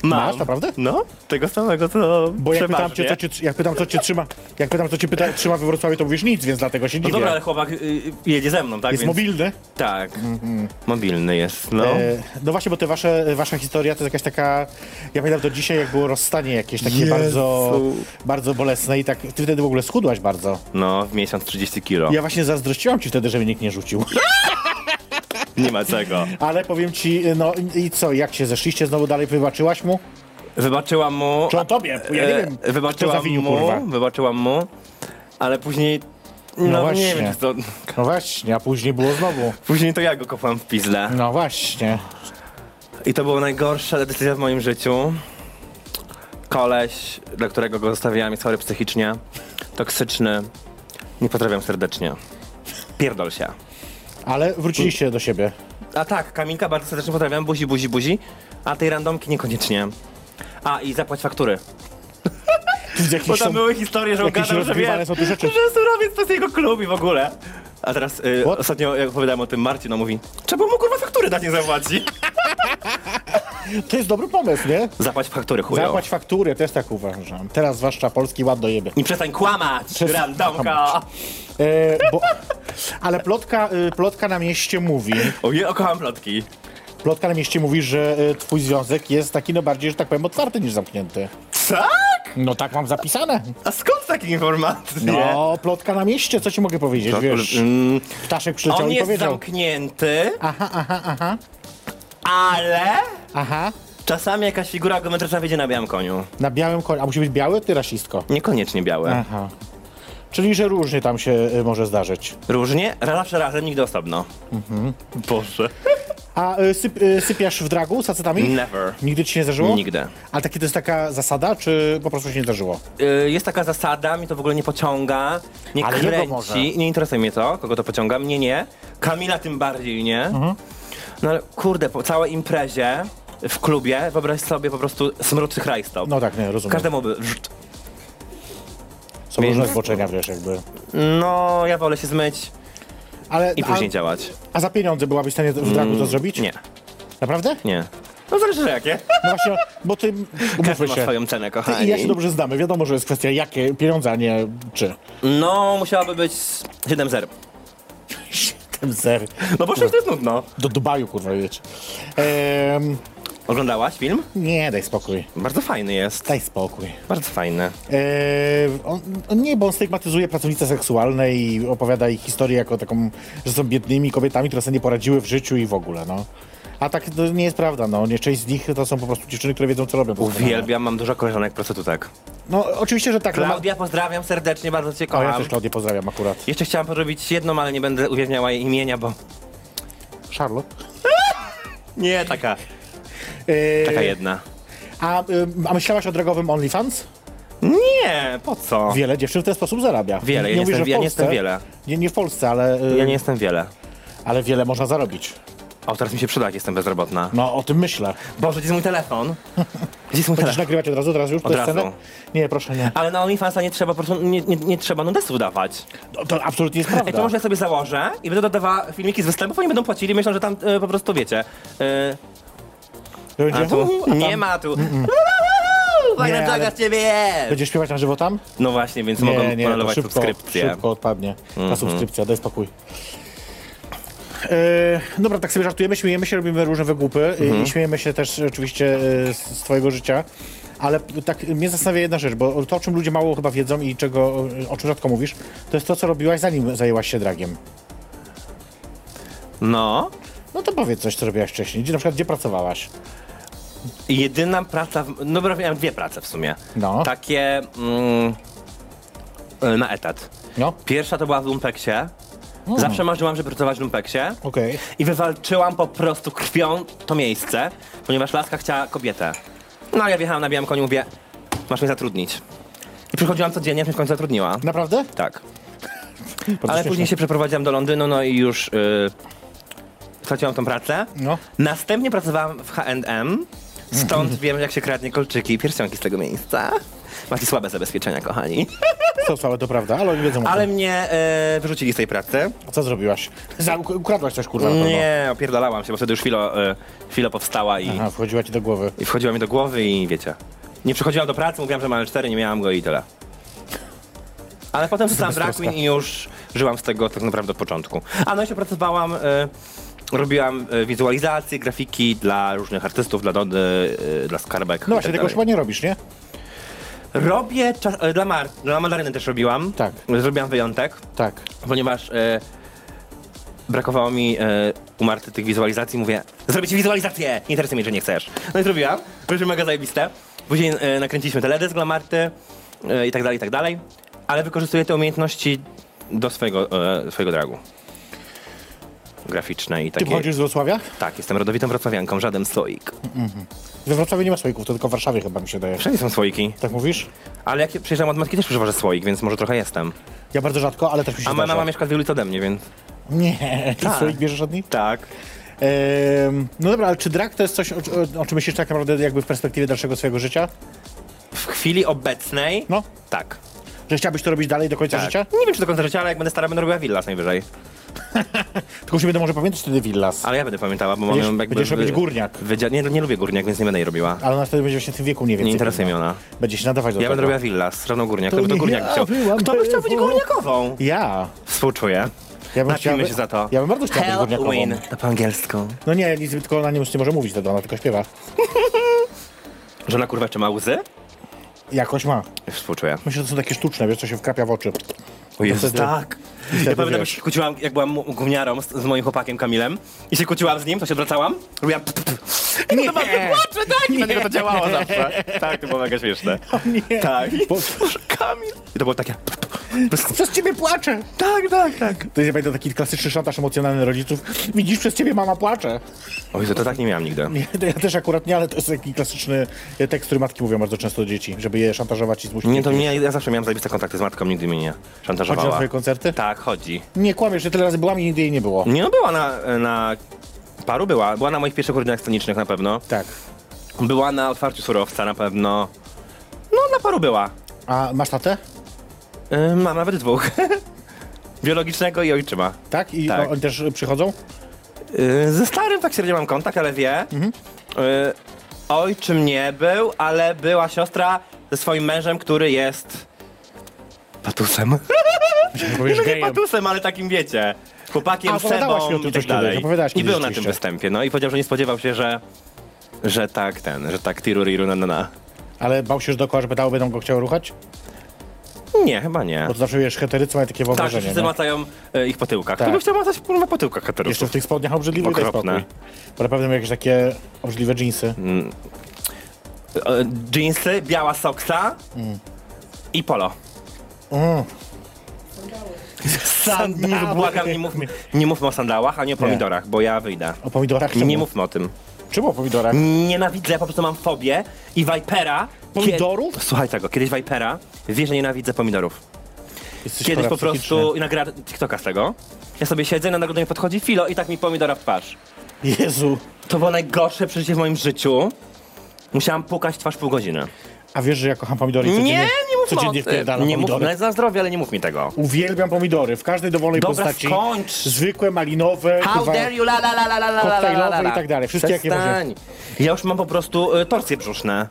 Mam. Masz, naprawdę? No, tego samego, co Bo jak pytam, przeważnie. No cię, co cię, jak pytam, co cię trzyma, jak pytam, co cię pyta, trzyma we Wrocławiu, to mówisz nic, więc dlatego się No dziwię. dobra, ale chłopak y, y, jedzie ze mną, tak? Jest Mhm. więc- mobilny. Tak. Mobilny jest, no. Eee, no właśnie, bo te wasze, wasza historia to jest jakaś taka. Ja pamiętam do dzisiaj, jak było rozstanie jakieś takie Jezu. bardzo bardzo bolesne i tak. Ty wtedy w ogóle schudłaś bardzo. No, w miesiąc 30 kilo. Ja właśnie zazdrościłam ci wtedy, że mnie nikt nie rzucił. Nie ma czego. Ale powiem ci, no i- i co, jak się zeszliście znowu dalej, wybaczyłaś mu? Wybaczyłam mu... Czy on tobie? Ja nie e, wiem, kto Wybaczyłam zawinił, mu, kurwa. wybaczyłam mu, ale później... No, właśnie. nie wiem, czy to... No właśnie, a później było znowu. Później to ja go kopałam w pizle. No właśnie. I to była najgorsza decyzja w moim życiu. Koleś, dla którego go zostawiłam, jest chory psychicznie, toksyczny. Nie pozdrawiam serdecznie. Pierdol się. Ale wróciliście do siebie. A tak, Kamilka bardzo serdecznie pozdrawiam, buzi, buzi, buzi. A tej randomki niekoniecznie. A, i zapłać faktury. Tu widzę Bo jakieś tam są... były historie, że on jakieś gadał, że rozgrywane wiesz, są tu rzeczy. że surowiec to jest jego klub i w ogóle. A teraz y, What? ostatnio, jak opowiadałem o tym, Marcin on mówi, trzeba mu kurwa faktury dać, nie zapłaci. To jest dobry pomysł, nie? Zapłać faktury, chujo. Zapłać fakturę, też tak uważam. Teraz zwłaszcza polski ład dojebie. I przestań kłamać, Przestań randomka. kłamać. E, bo... Ale plotka, y, plotka na mieście mówi, O, ja kocham plotki. plotka na mieście mówi, że y, twój związek jest taki no bardziej, że tak powiem, otwarty niż zamknięty. Tak? No tak mam zapisane. A skąd takie informacje? No, plotka na mieście, co ci mogę powiedzieć, To- wiesz? mm, Ptaszek przyleciał On i jest powiedział. zamknięty. Aha, aha, aha. Ale Aha, czasami jakaś figura geometryczna wyjdzie na białym koniu. na białym koniu. A musi być biały, ty rasistko. Niekoniecznie białe. Aha. Czyli, że różnie tam się y, może zdarzyć. Różnie, raz zawsze razem, nigdy osobno. Mhm. Boże. A y, syp, y, sypiasz w dragu z facetami? Never. Nigdy ci się nie zdarzyło? Nigdy. Ale takie to jest taka zasada, czy po prostu się nie zdarzyło? Y, Jest taka zasada, mnie to w ogóle nie pociąga, nie Ale jego może. kręci, nie interesuje mnie to, kogo to pociąga, mnie nie, Kamila tym bardziej nie. Mhm. No ale kurde, po całej imprezie w klubie, wyobraź sobie po prostu smród tych rajstop. No tak, nie, rozumiem. Każdemu by... wrzt. Są Więc- różne zboczenia, wiesz, jakby. No, ja wolę się zmyć Ale, i później a, działać. a za pieniądze byłabyś w stanie w dragu to zrobić? Nie, Naprawdę? nie. No zależy, że jakie. No właśnie, bo ty, Każdy umówmy ma się, swoją cenę, ty i kochani. ja się dobrze znamy. Wiadomo, że jest kwestia jakie pieniądze, a nie czy. No, musiałaby być 7-0. Ten zer No bo 6 to jest nudno. do Dubaju, kurwa, wiecie. Ehm, Oglądałaś film? nie, daj spokój. Bardzo fajny jest. Daj spokój. Bardzo fajny. Eee, on, on nie, bo on stygmatyzuje pracownice seksualne i opowiada ich historię jako taką, że są biednymi kobietami, które sobie nie poradziły w życiu i w ogóle, no. A tak to nie jest prawda, no. Nie, część z nich to są po prostu dziewczyny, które wiedzą, co robią. Uwielbiam, mam dużo koleżanek prostytutek. No, oczywiście, że tak. no ma- Klaudia, pozdrawiam serdecznie, bardzo cię O, ja kocham. też Klaudię pozdrawiam akurat. Jeszcze chciałam porobić jedną, ale nie będę ujawniała jej imienia, bo... Charlotte. Nie, taka. Eee, Taka jedna. a, ym, a myślałaś o drogowym OnlyFans? Nie, po co? Wiele dziewczyn w ten sposób zarabia. Wiele, ja nie mówię, jestem- że w ja nie Polsce. jestem wiele. Nie, nie w Polsce, ale, y, Ja nie jestem wiele. ale wiele można zarobić. O, teraz mi się przyda, jak jestem bezrobotna. No, o tym myślę. Boże, gdzie jest mój telefon? Gdzie jest Chcesz mój telefon? nagrywać od razu, teraz już Tak. Od tę razu. scenę? Nie, proszę nie. Ale na OnlyFansa nie trzeba po prostu, nie, nie, nie trzeba nudesów dawać. No, to absolutnie jest prawda. Ej, to może ja sobie założę i będę dodawała filmiki z występów, oni będą płacili, myślą, że tam e, po prostu wiecie. E, Będzie, a tu a tam nie ma tu. Fajna Nie, ale- droga z ciebie jest! Będziesz śpiewać na żywo tam? No właśnie, więc mogą Mhm. to planować subskrypcję. Szybko odpadnie ta subskrypcja, daj spokój. E, dobra, tak sobie żartujemy, śmiejemy się, robimy różne wygłupy e, Mhm. i śmiejemy się też oczywiście e, z, z twojego życia, ale tak mnie zastanawia jedna rzecz, bo to, o czym ludzie mało chyba wiedzą i czego, o czym rzadko mówisz, to jest to, co robiłaś zanim zajęłaś się dragiem. No. No to powiedz coś, co robiłaś wcześniej, gdzie na przykład, gdzie pracowałaś? I Jedyna praca, w, no dobra, miałem dwie prace w sumie. No. Takie mm, e, na etat. No, Pierwsza to była w Lumpeksie. Zawsze marzyłam, żeby pracować w Lumpeksie. okej. I wywalczyłam po prostu krwią to miejsce, ponieważ laska chciała kobietę. No a ja wjechałam na białym koniu, mówię, masz mnie zatrudnić. I przychodziłam codziennie, aż mnie w końcu zatrudniła. Naprawdę? Tak. Bardzo Ale śmieszne. później się przeprowadziłam do Londynu, no i już yy, straciłam tą pracę. No. Następnie pracowałam w H&M, stąd wiem, jak się kradnie kolczyki i pierścionki z tego miejsca. Macie słabe zabezpieczenia, kochani. To słabe, to prawda, ale oni wiedzą Ale ale... mnie yy, wyrzucili z tej pracy. Co zrobiłaś? Za, ukradłaś coś, kurwa, na pewno. Nie, opierdalałam się, bo wtedy już filo, yy, filo powstała i... Aha, wchodziła ci do głowy. I wchodziła mi do głowy i wiecie. Nie przychodziłam do pracy, mówiłam, że mam L4, nie miałam go i tyle. Ale potem zostałam drag queen i już żyłam z tego tak naprawdę od początku. A no jeszcze pracowałam, y, robiłam y, wizualizacje, grafiki dla różnych artystów, dla Dody, y, dla Skarbek. No i właśnie, tak tego dalej. chyba nie robisz, nie? Robię, czas, y, dla, Mar- dla Mandaryny też robiłam. Tak. Zrobiłam wyjątek, Tak. ponieważ y, brakowało mi y, umarty tych wizualizacji. Mówię, zrobię ci wizualizację! Nie interesuje mnie, że nie chcesz. No i zrobiłam. Były mega zajebiste. Później y, nakręciliśmy teledysk dla Marty y, i tak dalej, i tak dalej. Ale wykorzystuję te umiejętności do swojego, y, swojego dragu. Graficzne i Ty takie. pochodzisz z Wrocławia? Tak, jestem rodowitą wrocławianką, żaden słoik. We Wrocławiu nie ma słoików, to tylko w Warszawie chyba mi się daje. Wszędzie są słoiki. Tak mówisz? Ale jak przyjeżdżam od matki, też przeważę słoik, więc może trochę jestem. Ja bardzo rzadko, ale też mi się A moja zdarza. mama mieszka dwie ulice ode mnie, więc... Nie, ty Tak. słoik bierzesz od niej? Tak. Ehm, no dobra, ale czy drag to jest coś, o, o, o czym myślisz tak naprawdę jakby w perspektywie dalszego swojego życia? W chwili obecnej... No. Tak. Że chciałbyś to robić dalej do końca Tak. życia? Nie wiem, czy do końca życia, ale jak będę stara, będę robiła Villas najwyżej. Tylko już nie będę może pamiętać wtedy Villas. Ale, Ale ja będę pamiętała, bo Będziesz- mam jakby... będziesz robić wy- górniak. wydzia- Nie, nie lubię górniak, więc nie będę jej robiła. ona wtedy będzie właśnie w tym wieku mniej więcej. Nie interesuje mnie ona. Będzie się nadawać do Ja tego. będę robiła Villas, равно górniak, To to by to nie górniak ja chciał. byłam Kto by chciał być pewna. górniakową? Ja. Współczuję. Ja bym Napijmy chciał- się za to. ja bym bardzo chciał być górniakową. Halloween. To po angielsku. No nie, nic, tylko ona nie, nie może mówić wtedy, ona tylko śpiewa. Że ona kurwa jeszcze ma łzy? Jakoś ma. Współczuję. Myślę, że to są takie sztuczne, wiesz, co się wkrapia w oczy. O Jezu, wtedy- tak. Ja pamiętam, jak się kłóciłam, jak byłam mu- gówniarą z, z moim chłopakiem Kamilem i się kłóciłam z nim, to się odwracałam, robiłam... Nie, to płaczę, tak! I na niego to działało zawsze. Tak, to było mega śmieszne. Nie. Tak. Bo- Kamil. I to było takie. Przez ciebie płaczę! Tak, tak, tak. To jest będę taki klasyczny szantaż emocjonalny rodziców. Widzisz, przez ciebie mama płacze. Oj, to tak nie miałam nigdy. Nie, to ja też akurat nie, ale to jest taki klasyczny e, tekst, który matki mówią bardzo często do dzieci, żeby je szantażować i zmusić. Nie, to mnie, ja zawsze miałam zajebiste kontakty z matką, nigdy mnie nie Chodzi na szantażowała. twoje koncerty? Tak, chodzi. Nie kłamiesz, że tyle razy byłam i nigdy jej nie było. Nie, no była na, na paru, była. Była na moich pierwszych urodzinach scenicznych na pewno. Tak. Była na otwarciu surowca na pewno. No, na paru była. A masz tatę? Yy, mam nawet dwóch. Biologicznego i ojczyma. Tak? I Tak. o- oni też e, przychodzą? Mhm. Yy, ze starym tak średnio mam kontakt, ale wie. Yy, ojczym nie był, ale była siostra ze swoim mężem, który jest patusem. Powiesz No nie gejem. patusem, ale takim wiecie. Chłopakiem, A, opowiadałaś mi o tym sebą i coś tak kiedyś, dalej. opowiadałaś I kiedyś był na tym rzeczywiście. występie, no i powiedział, że nie spodziewał się, że, że tak ten, że tak tiru riru na na na. Ale bał się już dookoła, że pedały będą go chciały ruchać? Nie, chyba nie. Bo to zawsze wiesz, heterycy mają takie Tak, że wyobrażenie. wszyscy no. macają e, ich po tyłkach. Tak. Tak. Kto by chciał macać kurwa po tyłkach Jeszcze w heterusów? tych spodniach obrzydliwych daj Okropne. Mm. spokój. Bo na pewno miał jakieś takie obrzydliwe dżinsy. E, Dżinsy, biała soksa i polo. Sandały. Nie, błagam, nie mówmy, nie mówmy o sandałach, ani o pomidorach, bo ja wyjdę. O pomidorach? Czemu? Nie mówmy o tym. Czemu o pomidorach? Nienawidzę, po prostu mam fobię i Vipera... Pomidorów? Kiedy... Słuchaj tego, kiedyś Vipera, wiesz, że nienawidzę pomidorów. Jesteś Kiedyś po parapsychiczny. prostu i nagra TikToka z tego. Ja sobie siedzę, na nagrodę mi podchodzi filo i tak mi pomidora w twarz. Jezu. To było najgorsze przeżycie w moim życiu. Musiałam pukać w twarz pół godziny. A wiesz, że ja kocham pomidory i Nie, codziennie, nie mów codziennie wpierdalam Nie mów, pomidory. no, za zdrowie, ale nie mów mi tego. Uwielbiam pomidory w każdej dowolnej Dobra, postaci. skończ. Zwykłe, malinowe, How kurwa, dare you, la la la la la la la la la koktajlowe la. i tak dalej. Wszystkie, jakie Przestań. Ja już mam po prostu y, torcje brzuszne.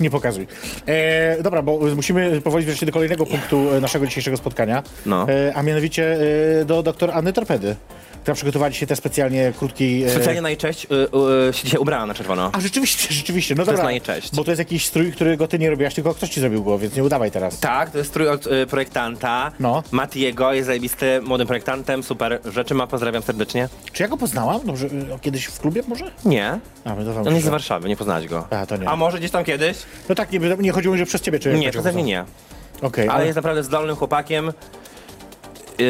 nie pokazuj. E, dobra, bo y, musimy powoli wreszcie do kolejnego punktu e, naszego dzisiejszego spotkania, No. e, a mianowicie e, do doktor Anny Torpedy, która przygotowała dzisiaj te specjalnie krótki... E, Specjalnie na jej cześć y, y, się dzisiaj ubrała na czerwono. A rzeczywiście, rzeczywiście, no To jest dobra. na jej cześć. Bo to jest jakiś strój, którego ty nie robiłaś, tylko ktoś ci zrobił go, więc nie udawaj teraz. Tak, to jest strój od y, projektanta. No. Matiego jest zajebisty, młodym projektantem, super rzeczy ma, pozdrawiam serdecznie. Czy ja go poznałam? Dobrze, y, o, kiedyś w klubie może? Nie, A, wydawało on mi jest z się. Warszawy, No nie poznałeś go. A, to nie. A może gdzieś tam kiedyś? No tak, nie, nie chodziło mi, że przez ciebie czy nie, to pewnie nie. Okej, Ale jest naprawdę zdolnym chłopakiem. Yy,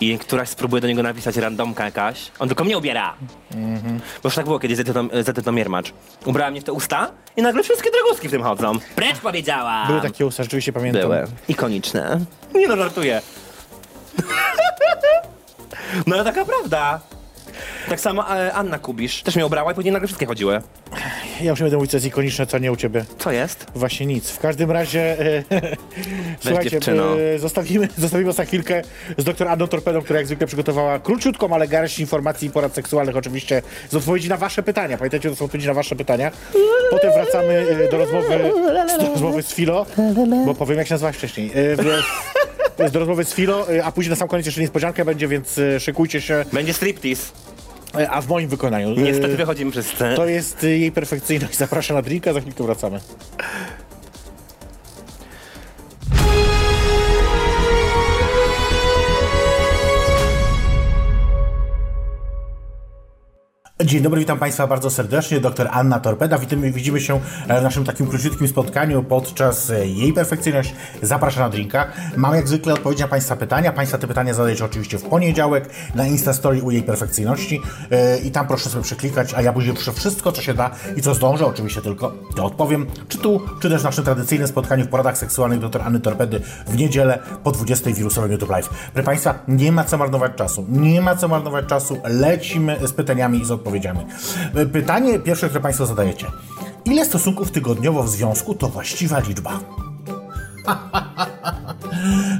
I któraś spróbuje do niego napisać randomka jakaś. On tylko mnie ubiera. Mhm. Bo już tak było kiedyś z Edytą- z Edytą Miermacz. Ubrała mnie w te usta i nagle wszystkie draguski w tym chodzą. Precz powiedziała! były takie usta, rzeczywiście pamiętam. Były. Ikoniczne. Nie no, żartuję. no ale taka prawda. Tak samo e, Anna Kubisz też mnie ubrała i później nagle wszystkie chodziły. Ja już nie będę mówić, co jest ikoniczne, co nie u ciebie. Co jest? Właśnie nic. W każdym razie, e, słuchajcie, dziewczyno. e, zostawimy, zostawimy was na chwilkę z doktor Anną Torpedą, która jak zwykle przygotowała króciutką, ale garść informacji i porad seksualnych oczywiście z odpowiedzi na wasze pytania. Pamiętajcie, to są odpowiedzi na wasze pytania. Potem wracamy e, do rozmowy, do rozmowy z Filo, bo powiem, jak się nazywałaś wcześniej. E, w- Do rozmowy z Filo, e, a później na sam koniec jeszcze niespodziankę będzie, więc e, szykujcie się, Będzie striptease. e, a w moim wykonaniu. e, Niestety wychodzimy przez scenę. To jest y, jej perfekcyjność. Zapraszam na drinka, za chwilkę wracamy. Dzień dobry, witam Państwa bardzo serdecznie. Doktor Anna Torpeda. Witamy, widzimy się e, w naszym takim króciutkim spotkaniu podczas e, jej perfekcyjność. Zapraszam na drinka. Mam jak zwykle odpowiedź na Państwa pytania. Państwa te pytania zadajecie oczywiście w poniedziałek na Instastory u jej perfekcyjności E, i tam proszę sobie przeklikać, a ja później przy wszystko, co się da i co zdążę, oczywiście tylko to odpowiem. Czy tu, czy też w naszym tradycyjnym spotkaniu w poradach seksualnych dr Anny Torpedy w niedzielę po 20 w wirusowym YouTube Live. Proszę Państwa, nie ma co marnować czasu. Nie ma co marnować czasu. Lecimy z pytaniami i z odpowiedziami. E, Pytanie pierwsze, które Państwo zadajecie. Ile stosunków tygodniowo w związku to właściwa liczba?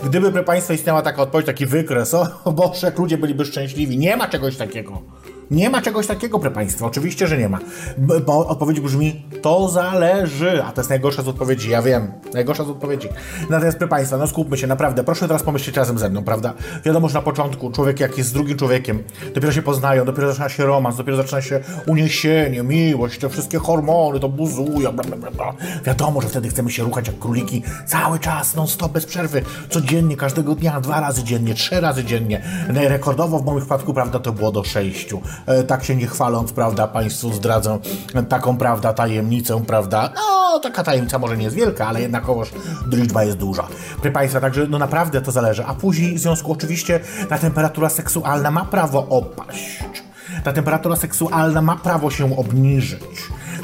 Gdyby, proszę Państwa, istniała taka odpowiedź, taki wykres, o Boże, jak ludzie byliby szczęśliwi. Nie ma czegoś takiego. Nie ma czegoś takiego, proszę Państwa. Oczywiście, że nie ma. B- Bo odpowiedź brzmi, to zależy. A to jest najgorsza z odpowiedzi, ja wiem. Najgorsza z odpowiedzi. Natomiast, proszę Państwa, no skupmy się, naprawdę. Proszę teraz pomyśleć razem ze mną, prawda? Wiadomo, że na początku człowiek, jak jest z drugim człowiekiem, dopiero się poznają, dopiero zaczyna się romans, dopiero zaczyna się uniesienie, miłość, te wszystkie hormony, to buzują, bla, bla, bla, bla. Wiadomo, że wtedy chcemy się ruchać jak króliki cały czas, non stop, bez przerwy, codziennie, każdego dnia, dwa razy dziennie, trzy razy dziennie. No i Rekordowo w moim przypadku, prawda, to było do sześciu. E, tak się nie chwaląc, prawda, Państwu zdradzę taką, prawda, tajemnicę, prawda, no, taka tajemnica może nie jest wielka, ale jednakowoż liczba jest duża. Proszę Państwa, także no naprawdę to zależy. A później w związku oczywiście ta temperatura seksualna ma prawo opaść. Ta temperatura seksualna ma prawo się obniżyć.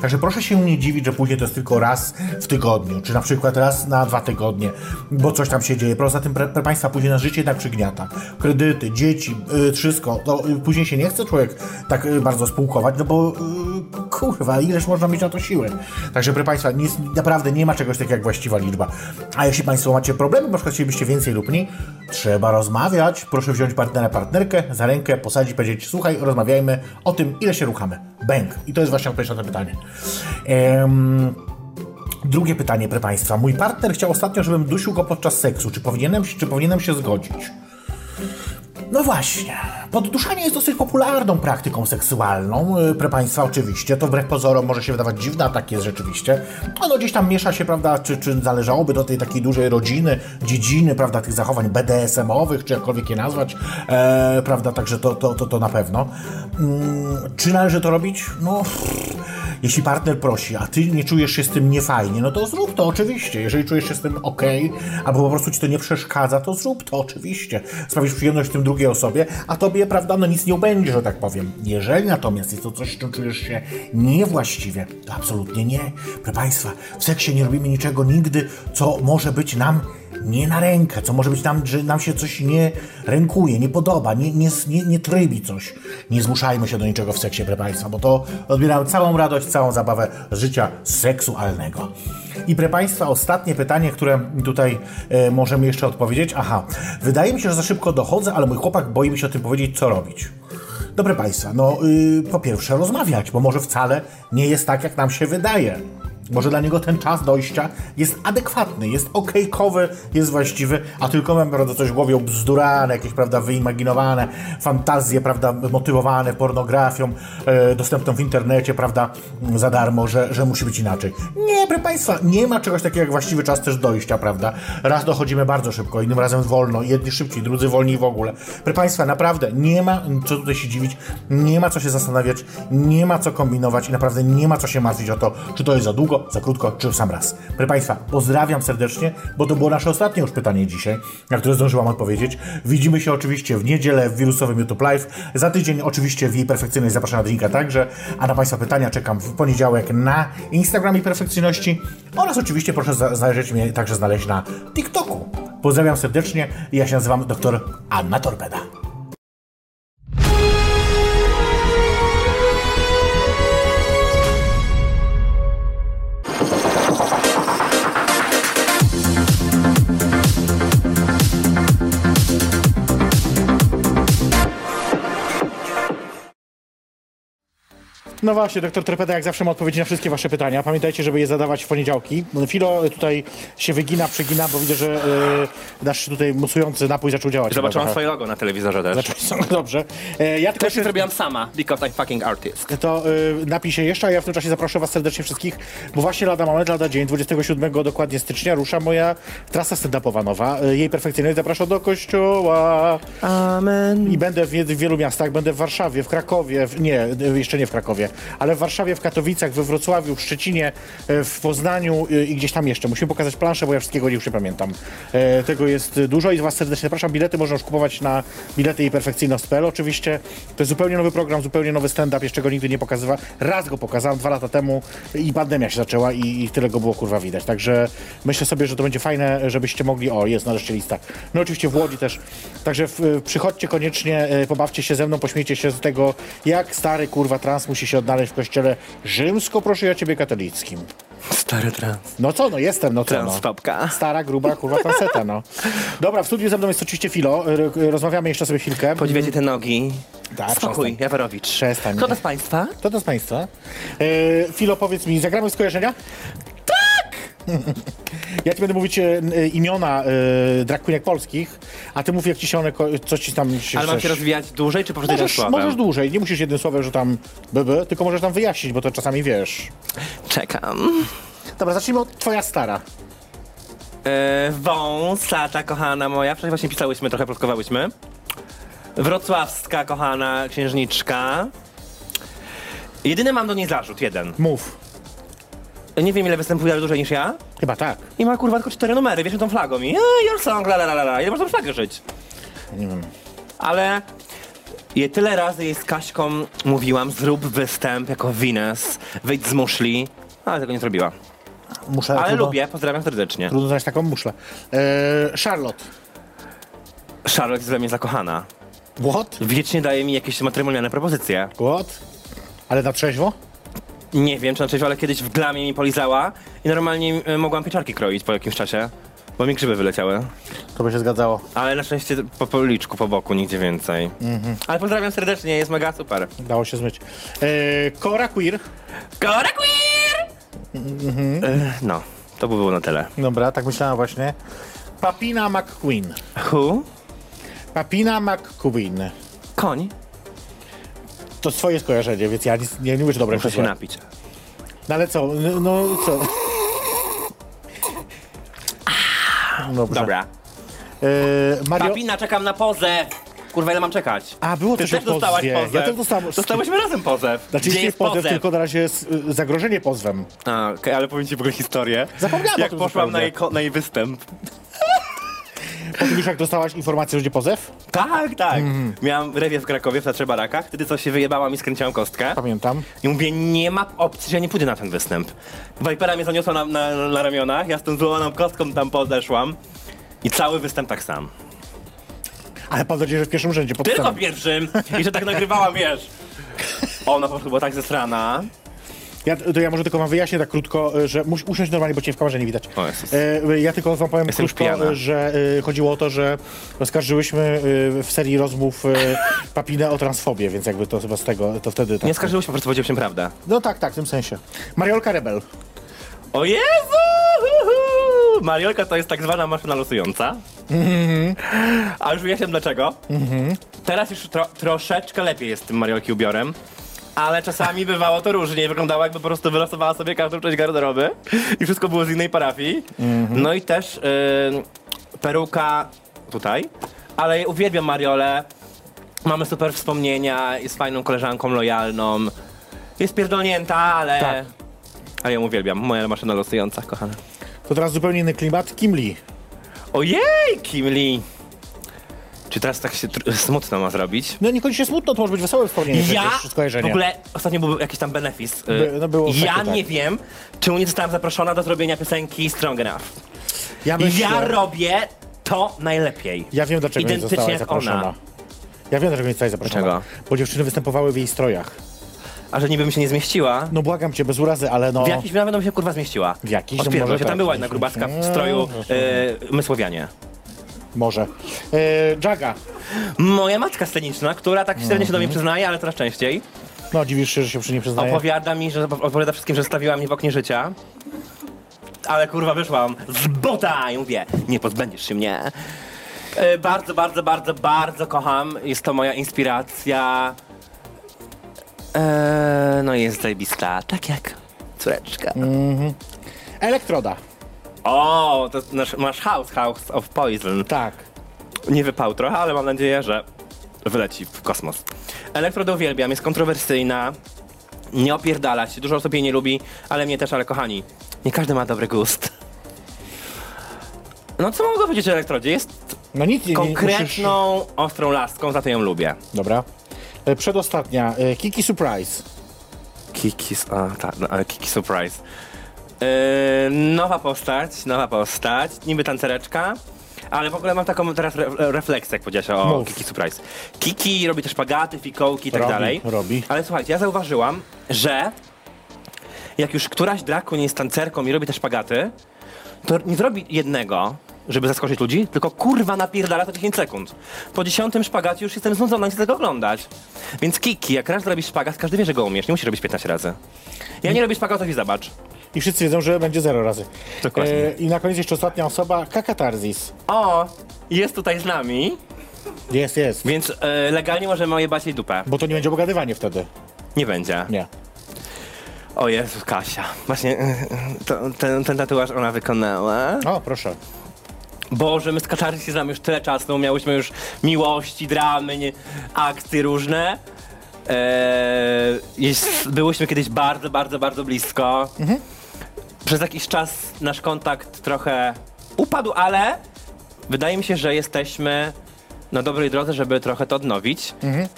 Także proszę się nie dziwić, że później to jest tylko raz w tygodniu, czy na przykład raz na dwa tygodnie, bo coś tam się dzieje. Poza tym, proszę Państwa, później na życie jednak przygniata. Kredyty, dzieci, y, wszystko. To y, później się nie chce człowiek tak y, bardzo spółkować, no bo y, kurwa, ileż można mieć na to siły. Także, proszę Państwa, nic, naprawdę nie ma czegoś takiego jak właściwa liczba. A jeśli Państwo macie problemy, na przykład chcielibyście więcej lub mniej, Trzeba rozmawiać. Proszę wziąć partnera, partnerkę za rękę, posadzić, powiedzieć: Słuchaj, rozmawiajmy o tym, ile się ruchamy. Bęk. I to jest właśnie odpowiedź na to pytanie. Em, drugie pytanie, proszę Państwa. Mój partner chciał ostatnio, żebym dusił go podczas seksu. Czy powinienem, czy powinienem się zgodzić? No właśnie. Podduszanie jest dosyć popularną praktyką seksualną, yy, proszę Państwa, oczywiście. To wbrew pozorom może się wydawać dziwne, a tak jest rzeczywiście. Ono gdzieś tam miesza się, prawda, czy, czy należałoby do tej takiej dużej rodziny, dziedziny, prawda, tych zachowań BDSM-owych, czy jakkolwiek je nazwać, e, prawda, także to, to, to, to na pewno. Mm, czy należy to robić? No... Pff. Jeśli partner prosi, a ty nie czujesz się z tym niefajnie, no to zrób to oczywiście. Jeżeli czujesz się z tym ok, albo po prostu ci to nie przeszkadza, to zrób to oczywiście. Sprawisz przyjemność tym drugiej osobie, a tobie, prawda, no nic nie ubędzie, że tak powiem. Jeżeli natomiast jest to coś, z czym czujesz się niewłaściwie, to absolutnie nie. Proszę Państwa, w seksie nie robimy niczego nigdy, co może być nam nie na rękę, co może być nam, że nam się coś nie rękuje, nie podoba, nie, nie, nie, nie trybi coś. Nie zmuszajmy się do niczego w seksie, proszę Państwa, bo to odbiera całą radość, całą zabawę z życia seksualnego. I proszę Państwa, ostatnie pytanie, które tutaj e, możemy jeszcze odpowiedzieć. Aha, wydaje mi się, że za szybko dochodzę, ale mój chłopak boi mi się o tym powiedzieć, co robić. Dobre Państwa, no y, po pierwsze rozmawiać, bo może wcale nie jest tak, jak nam się wydaje. Może dla niego ten czas dojścia jest adekwatny, jest okejkowy, jest właściwy, a tylko mam prawda, coś w głowie bzdurane, jakieś prawda, wyimaginowane, fantazje prawda, motywowane pornografią, e, dostępną w internecie prawda, m, za darmo, że, że musi być inaczej. Nie, proszę Państwa, nie ma czegoś takiego jak właściwy czas też dojścia, prawda? Raz dochodzimy bardzo szybko, innym razem wolno, jedni szybciej, drudzy wolniej w ogóle. Proszę Państwa, naprawdę nie ma co tutaj się dziwić, nie ma co się zastanawiać, nie ma co kombinować i naprawdę nie ma co się martwić o to, czy to jest za długo, za krótko, czy w sam raz. Proszę Państwa, pozdrawiam serdecznie, bo to było nasze ostatnie już pytanie dzisiaj, na które zdążyłam odpowiedzieć. Widzimy się oczywiście w niedzielę w wirusowym YouTube Live. Za tydzień oczywiście w jej perfekcyjność zapraszam na drinka także, a na Państwa pytania czekam w poniedziałek na Instagramie perfekcyjności oraz oczywiście proszę za- zajrzeć mnie także znaleźć na TikToku. Pozdrawiam serdecznie, ja się nazywam dr Anna Torpeda. No właśnie, doktor Torpeda jak zawsze ma odpowiedzi na wszystkie wasze pytania. Pamiętajcie, żeby je zadawać w poniedziałki. Filo tutaj się wygina, przegina, bo widzę, że y, nasz tutaj musujący napój zaczął działać. Zobaczyłam Chyba swoje logo na telewizorze też. trochę. Zaczął- Dobrze. E, ja tylko Też się zrobiłam sama, because I'm fucking artist. to y, napij się jeszcze, a ja w tym czasie zaproszę Was serdecznie wszystkich, bo właśnie lada moment, lada dzień, 27 dokładnie stycznia rusza moja trasa stand-upowa nowa. Y, Jej perfekcyjność zapraszam do kościoła. Amen. I będę w, jed- w wielu miastach, będę w Warszawie, w Krakowie, w, nie, y, jeszcze nie w Krakowie, ale w Warszawie, w Katowicach, we Wrocławiu, w Szczecinie, y, w Poznaniu y, i gdzieś tam jeszcze. Musimy pokazać planszę, bo ja wszystkiego już nie pamiętam. E, Tego jest dużo i Was serdecznie zapraszam. Bilety można już kupować na bilety i perfekcyjność.pl oczywiście. To jest zupełnie nowy program, zupełnie nowy stand-up, jeszcze go nigdy nie pokazywałem. Raz go pokazałem dwa lata temu i pandemia się zaczęła i, i tyle go było kurwa widać. Także myślę sobie, że to będzie fajne, żebyście mogli. O, jest nareszcie lista. No oczywiście w Łodzi też. Także w, przychodźcie koniecznie, e, pobawcie się ze mną, pośmiejcie się z tego, jak stary kurwa trans musi się odnaleźć w kościele rzymsko, proszę ja ciebie katolickim. Stary trans. No co, no jestem, no co, no. Transfobka. Stara, gruba, kurwa, fanseta, no. Dobra, w studiu ze mną jest oczywiście Filo, R- rozmawiamy jeszcze sobie chwilkę. Podziwiacie te nogi. Tak, Spokój, przestań. Jaworowicz. Przestań. Kto to z Państwa? Kto to z Państwa? E, Filo, powiedz mi, zagramy w skojarzenia? Tak! ja Ci będę mówić e, n- e, imiona e, drag queenek polskich, a Ty mów, jak Ci się one, ko- coś Ci tam się Ale mam chcesz. się rozwijać dłużej, czy po prostu jednym Możesz, słowem? możesz dłużej, nie musisz jednym słowem, że tam bb, tylko możesz tam wyjaśnić, bo to czasami wiesz. Czekam. Dobra, zacznijmy od Twoja stara. Yy, wąs, lata kochana moja. Wczoraj właśnie pisałyśmy, trochę plotkowałyśmy. Wrocławska kochana księżniczka. Jedyny mam do niej zarzut, jeden. Mów. Nie wiem ile występuje, ale dłużej niż ja. Chyba tak. I ma kurwa tylko cztery numery, wiesz, tą flagą i eee, your song, la la la la la. Ile można tą flagę żyć? Nie wiem. Ale je tyle razy jej z Kaśką mówiłam, zrób występ jako Venus, wyjdź z muszli, ale tego nie zrobiła. Muszę, Ale trudno, lubię, pozdrawiam serdecznie. Trudno znaleźć taką muszlę. E, Charlotte. Charlotte jest dla mnie zakochana. What? Wiecznie daje mi jakieś matrymonialne propozycje. What? Ale na trzeźwo? Nie wiem, czy na trzeźwo, ale kiedyś w glamie mi polizała i normalnie e, mogłam pieczarki kroić po jakimś czasie. Bo mi grzyby wyleciały. To by się zgadzało. Ale na szczęście po policzku, po boku, nigdzie więcej. Mhm. Ale pozdrawiam serdecznie, jest mega super. Dało się zmyć. E, Kora Queer. Kora queer! E, No, to by było na tyle. Dobra, tak myślałem właśnie. Papina McQueen. Who? Papina McQueen. Koń. To swoje skojarzenie, więc ja nic, nie, nie mówię, czy dobre Muszę czy się złe. napić. No ale co, no, no co? Dobrze. Ah. Dobra. E, Mario... Papina, czekam na pozew! Kurwa, ile mam czekać? A, było Ty też też o pozwie. dostałaś pozew. Ja też dostałem. Dostałyśmy razem pozew. Znaczy, Gdzie nie jest pozew, tylko na razie jest y, zagrożenie pozwem. A, okej, ale powiem ci w ogóle historię. Zapomniałem o Jak tym poszłam na zupełnie. jej, ko- na jej występ. Po tym już jak dostałaś informację, że będzie pozew? Tak, tak. Miałam rewie w Krakowie, w Teatrze Barakach. Wtedy coś się wyjebałam i skręciłam kostkę. Pamiętam. I mówię, nie ma opcji, że ja nie pójdę na ten występ. Vipera mnie zaniosła na, na, na ramionach, ja z tą złamaną kostką tam podeszłam. I cały występ tak sam. Ale mam nadzieję, że w pierwszym rzędzie pod Tylko sceną. pierwszym! I że tak nagrywałam, wiesz. Ona po prostu była tak zesrana. Ja, to ja może tylko wam wyjaśnię tak krótko, y, że musi usiąść normalnie, bo cię w kamerze nie widać. O Jezus. Y, ja tylko wam powiem Jestem krótko, pijana. y, że y, chodziło o to, że oskarżyłyśmy y, w serii rozmów y, Papinę o transfobię, więc jakby to chyba z tego, to wtedy tak. Nie skarżyło się, po prostu powiedział się prawdę. No tak, tak, w tym sensie. Mariolka Rebel. O Jezu! Uhu! Mariolka to jest tak zwana maszyna losująca. A już wyjaśniam dlaczego. Teraz już tro, troszeczkę lepiej jest z tym Mariolki ubiorem. Ale czasami bywało to różnie. Wyglądało jakby po prostu wylosowała sobie każdą część garderoby i wszystko było z innej parafii. No i też ym, peruka tutaj. Ale uwielbiam Mariolę. Mamy super wspomnienia, jest fajną koleżanką, lojalną. Jest pierdolnięta, ale... Tak. Ale ją uwielbiam. Moja maszyna losująca, kochana. To teraz zupełnie inny klimat. Kim Lee. Ojej, Kim Lee! Czy teraz tak się tr- smutno ma zrobić? No niekoniecznie smutno, to może być wesołe wspomnienie. Ja przecież, w skojarzenie. ogóle ostatnio był jakiś tam benefis. y, By- no było ja takie, tak. nie wiem, czemu nie zostałam zaproszona do zrobienia piosenki Strong Enough. Ja, myślę, Ja ja, robię to najlepiej. wiem, dlaczego nie Identycznie zostałaś jak ona. zaproszona. Ja wiem, dlaczego nie zostałaś zaproszona. Dlaczego? Bo dziewczyny występowały w jej strojach. A że niby bym się nie zmieściła. No błagam cię, bez urazy, ale no... W jakiś nawet bym się kurwa zmieściła. W jakiś? No Odpierdol może się, tak. tam była jedna grubacka w stroju y, Mysłowianie. Może. E, Jaga. Moja matka sceniczna, która tak średnio się do Mhm. mnie przyznaje, ale coraz częściej. No dziwisz się, że się przy niej przyznaje. Opowiada mi, że opowiada wszystkim, że stawiła mnie w oknie życia. Ale kurwa wyszłam z buta i mówię, nie pozbędziesz się mnie. E, Bardzo, bardzo, bardzo, bardzo kocham. Jest to moja inspiracja. E, no i jest zajebista, tak jak córeczka. Elektroda. O, to nasz, masz House, House of Poison. Tak. Nie wypał trochę, ale mam nadzieję, że wyleci w kosmos. Elektroda uwielbiam, jest kontrowersyjna, nie opierdala się, dużo osób jej nie lubi, ale mnie też, ale kochani, nie każdy ma dobry gust. No co mogę powiedzieć o Elektrodzie? Jest No nic nie nie- Musisz... konkretną, ostrą laską, za to ją lubię. Dobra. E, Przedostatnia. E, Kiki Surprise. Kiki, a, tak, no, ale Kiki Surprise. Yy, nowa postać, nowa postać, niby tancereczka, ale w ogóle mam taką teraz re, refleksję, jak powiedziałaś o Mów. Kiki Surprise. Kiki robi też pagaty, fikołki i tak Robi, dalej. robi. Ale słuchajcie, ja zauważyłam, że jak już któraś drag queen jest tancerką i robi też pagaty, to nie zrobi jednego, żeby zaskoczyć ludzi, tylko kurwa napierdala to 10 sekund. Po dziesiątym szpagacie już jestem znudzona, nie chcę tego oglądać. Więc Kiki, jak raz zrobisz szpagat, każdy wie, że go umiesz, nie musisz robić 15 razy. Ja nie robię szpagatów i zobacz. I wszyscy wiedzą, że będzie zero razy. E, Dokładnie. I na koniec jeszcze ostatnia osoba. Kakatarzis. O, jest tutaj z nami, Jest, jest. więc e, legalnie możemy ojebać jej dupę. Bo to nie będzie obogadywanie wtedy. Nie będzie. Nie. O Jezu, Kasia. Właśnie e, to, ten, ten tatuaż ona wykonała. O, proszę. Boże, my z Kaczary się znamy już tyle czasu, no miałyśmy już miłości, dramy, nie, akcje różne. Eee, jest, byłyśmy kiedyś bardzo, bardzo, bardzo blisko. Przez jakiś czas nasz kontakt trochę upadł, ale wydaje mi się, że jesteśmy na dobrej drodze, żeby trochę to odnowić.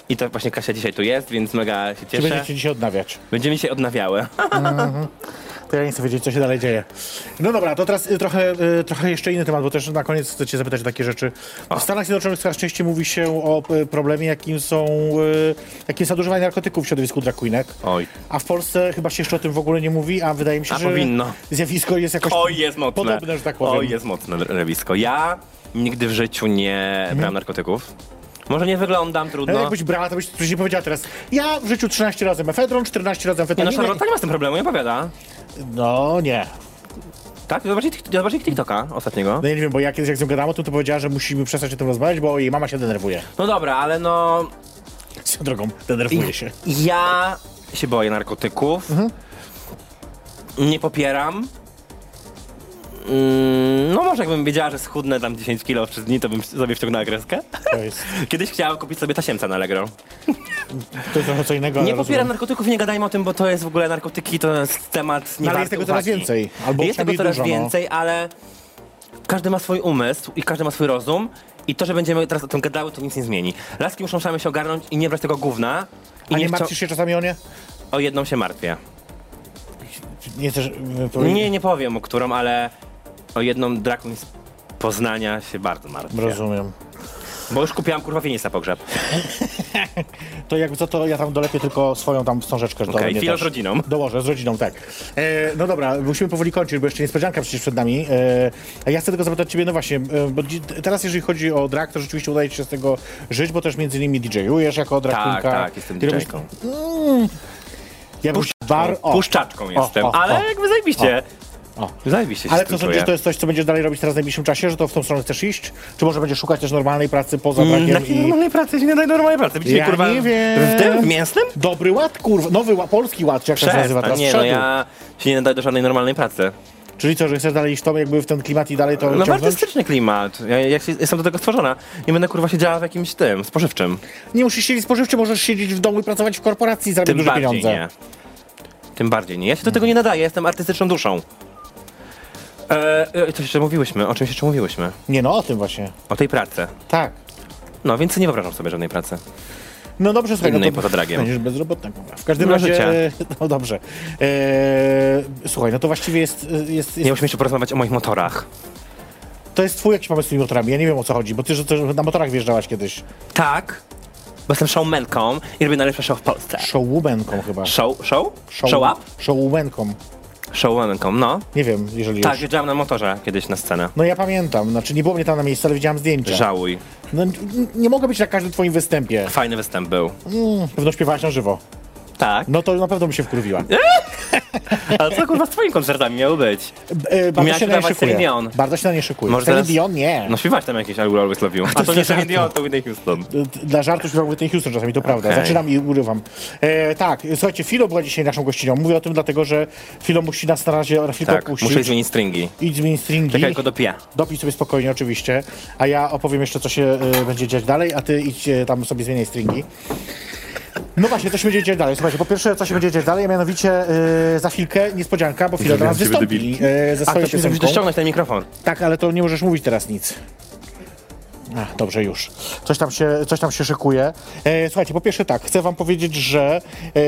I to właśnie Kasia dzisiaj tu jest, więc mega się Czy cieszę. będziecie dzisiaj odnawiać? Będziemy się odnawiały. To ja nie chcę wiedzieć, co się dalej dzieje. No dobra, to teraz y, trochę, y, trochę jeszcze inny temat, bo też na koniec chcę cię zapytać o takie rzeczy. W Stanach Zjednoczonych coraz częściej mówi się o y, problemie, jakim są, y, jakim jest nadużywanie narkotyków w środowisku drag queenek. Oj. A w Polsce chyba się jeszcze o tym w ogóle nie mówi, a wydaje mi się, A że powinno. zjawisko jest jakoś Oj, jest mocne. podobne, że tak powiem. Oj, jest mocne rewisko. Ja nigdy w życiu nie brałem narkotyków. Może nie wyglądam, No. trudno. Mhm. Jakbyś brała, to byś przecież nie powiedziała teraz. Ja w życiu 13 razy mefedron, 14 razy Nie, no amfetaminę. Charlotte nie ma z tym problemu, nie opowiada. No nie. Tak? Zobaczcie, zobaczcie TikToka ostatniego. No ja nie wiem, bo ja kiedyś jak z nią gadałem o tym, to powiedziała, że musimy przestać o tym rozmawiać, bo jej mama się denerwuje. No dobra, ale no... Swoją drogą, denerwuje się. Ja się boję narkotyków. Mhm. Nie popieram. Mm, No może jakbym wiedziała, że schudnę tam 10 kilo przez dni, to bym sobie wciągnęła kreskę. To jest, Kiedyś chciałam kupić sobie tasiemca na Allegro. to jest trochę co innego. ale Nie rozumiem. popieram narkotyków i nie gadajmy o tym, bo to jest w ogóle narkotyki, to jest temat nie No, ale jest warty tego coraz uwagi. więcej, albo Jest tego przynajmniej coraz dużo, no. więcej, ale każdy ma swój umysł i każdy ma swój rozum i to, że będziemy teraz o tym gadały, to nic nie zmieni. Laski muszą same się ogarnąć i nie brać tego gówna. I A nie chcia- martwisz się czasami o nie? O jedną się martwię. Nie chcesz... y, powiedzieć? Nie, nie powiem o którą, ale o jedną drag queen z Poznania się bardzo martwię. Rozumiem. Bo już kupiłam kurwa wieniec na pogrzeb. To jakby co, to ja tam dolepię tylko swoją tam wstążeczkę. że to Okej, robię chwilę też. z rodziną. Dołożę, z rodziną, tak. E, no dobra, musimy powoli kończyć, bo jeszcze niespodzianka przecież przed nami. E, a ja chcę tylko zapytać ciebie, no właśnie, e, bo dzi- teraz jeżeli chodzi o drag, to rzeczywiście udaje ci się z tego żyć, bo też między innymi DJ-ujesz jako drag Tak, queenka. tak, jestem Ty robisz- DJ-ką. Ja bym bar... O, Puszczaczką jestem, o, ale o. jakby zajebiście. O, o. Zajebiście się ale z co tym sądzisz, czuję. to jest coś, co będziesz dalej robić teraz w najbliższym czasie, że to w tą stronę chcesz iść? Czy może będziesz szukać też normalnej pracy poza Mm, dragiem Takiej i... normalnej pracy, się nie daj normalnej pracy. Widzicie, Ja kurwa, nie wiem. w tym, w mięsnym? Dobry ład, kurwa, nowy ład, polski ład, czy jak to się nazywa teraz? Przestań, nie, no Wszedł. ja się nie nadaję do żadnej normalnej pracy. Czyli co, że chcesz dalej iść w tą, jakby w ten klimat i dalej to No ciągnąć? artystyczny klimat. Ja, ja się, jestem do tego stworzona. Nie będę kurwa siedziała w jakimś tym, spożywczym. Nie musisz siedzieć spożywczy, możesz siedzieć w domu i pracować w korporacji i zarabiać Tym duże bardziej pieniądze. nie. Tym bardziej nie. Ja się do tego nie nadaję, jestem artystyczną duszą. E, e, coś jeszcze mówiłyśmy, o czymś jeszcze mówiłyśmy. Nie no, o tym właśnie. O tej pracy. Tak. No, więc nie wyobrażam sobie żadnej pracy. No dobrze, słuchaj, no Innej to poza dragiem. będziesz bezrobotna, kurwa. W każdym No, razie, życia. e, no dobrze. E, słuchaj, no to właściwie jest, e, jest, Nie jest musimy jeszcze porozmawiać o moich motorach. to jest twój jakiś pomysł z tymi motorami, ja nie wiem o co chodzi, bo ty że też na motorach wjeżdżałaś kiedyś. Tak, bo jestem showmanką i robię najlepsze show w Polsce. Showwomanką chyba. Show, show? Show up? Showwomanką. Showwomanką, no. Nie wiem, jeżeli Tak, już. jeździłam na motorze kiedyś na scenę. No ja pamiętam, znaczy nie było mnie tam na miejscu, ale widziałam zdjęcia. Żałuj. No, n- nie mogę być na każdym twoim występie. Fajny występ był. Mm, pewno śpiewałaś na żywo. Tak. No to na pewno bym się wkurwiła. Ale co kurwa z twoimi koncertami miało być? E, bardzo Miała się się na nie dawać Celine szykuje. Dion. Bardzo się na nie szykuje. Może Celine teraz- Dion nie. No śpiewać tam jakieś I Will Always Love You. A to nie tak. jest są żartem. idiotą Whitney Houston. D- Dla żartu śpiewał Whitney Houston czasami, to prawda. Okej. Zaczynam i urywam. E, tak, słuchajcie, Filo była dzisiaj naszą gościnią. Mówię o tym dlatego, że Filo musi nas na razie na chwilkę Tak, opuścić. muszę zmienić stringi. Idź zmienić stringi. Tak jako do pia. Dopij sobie spokojnie oczywiście, a ja opowiem jeszcze, co się e, będzie dziać dalej, a ty idź e, tam sobie zmieniaj stringi. No właśnie, co się będzie dziać dalej? Słuchajcie, po pierwsze, co się będzie dziać dalej, a mianowicie e, za chwilkę niespodzianka, bo chwilę do nas Zrobiłem ciebie wystąpi e, ze A swoją to musisz piosenką. dościągnąć ten mikrofon. Tak, ale to nie możesz mówić teraz nic. A, dobrze, już. Coś tam się, coś tam się szykuje. E, słuchajcie, po pierwsze tak, chcę wam powiedzieć, że e,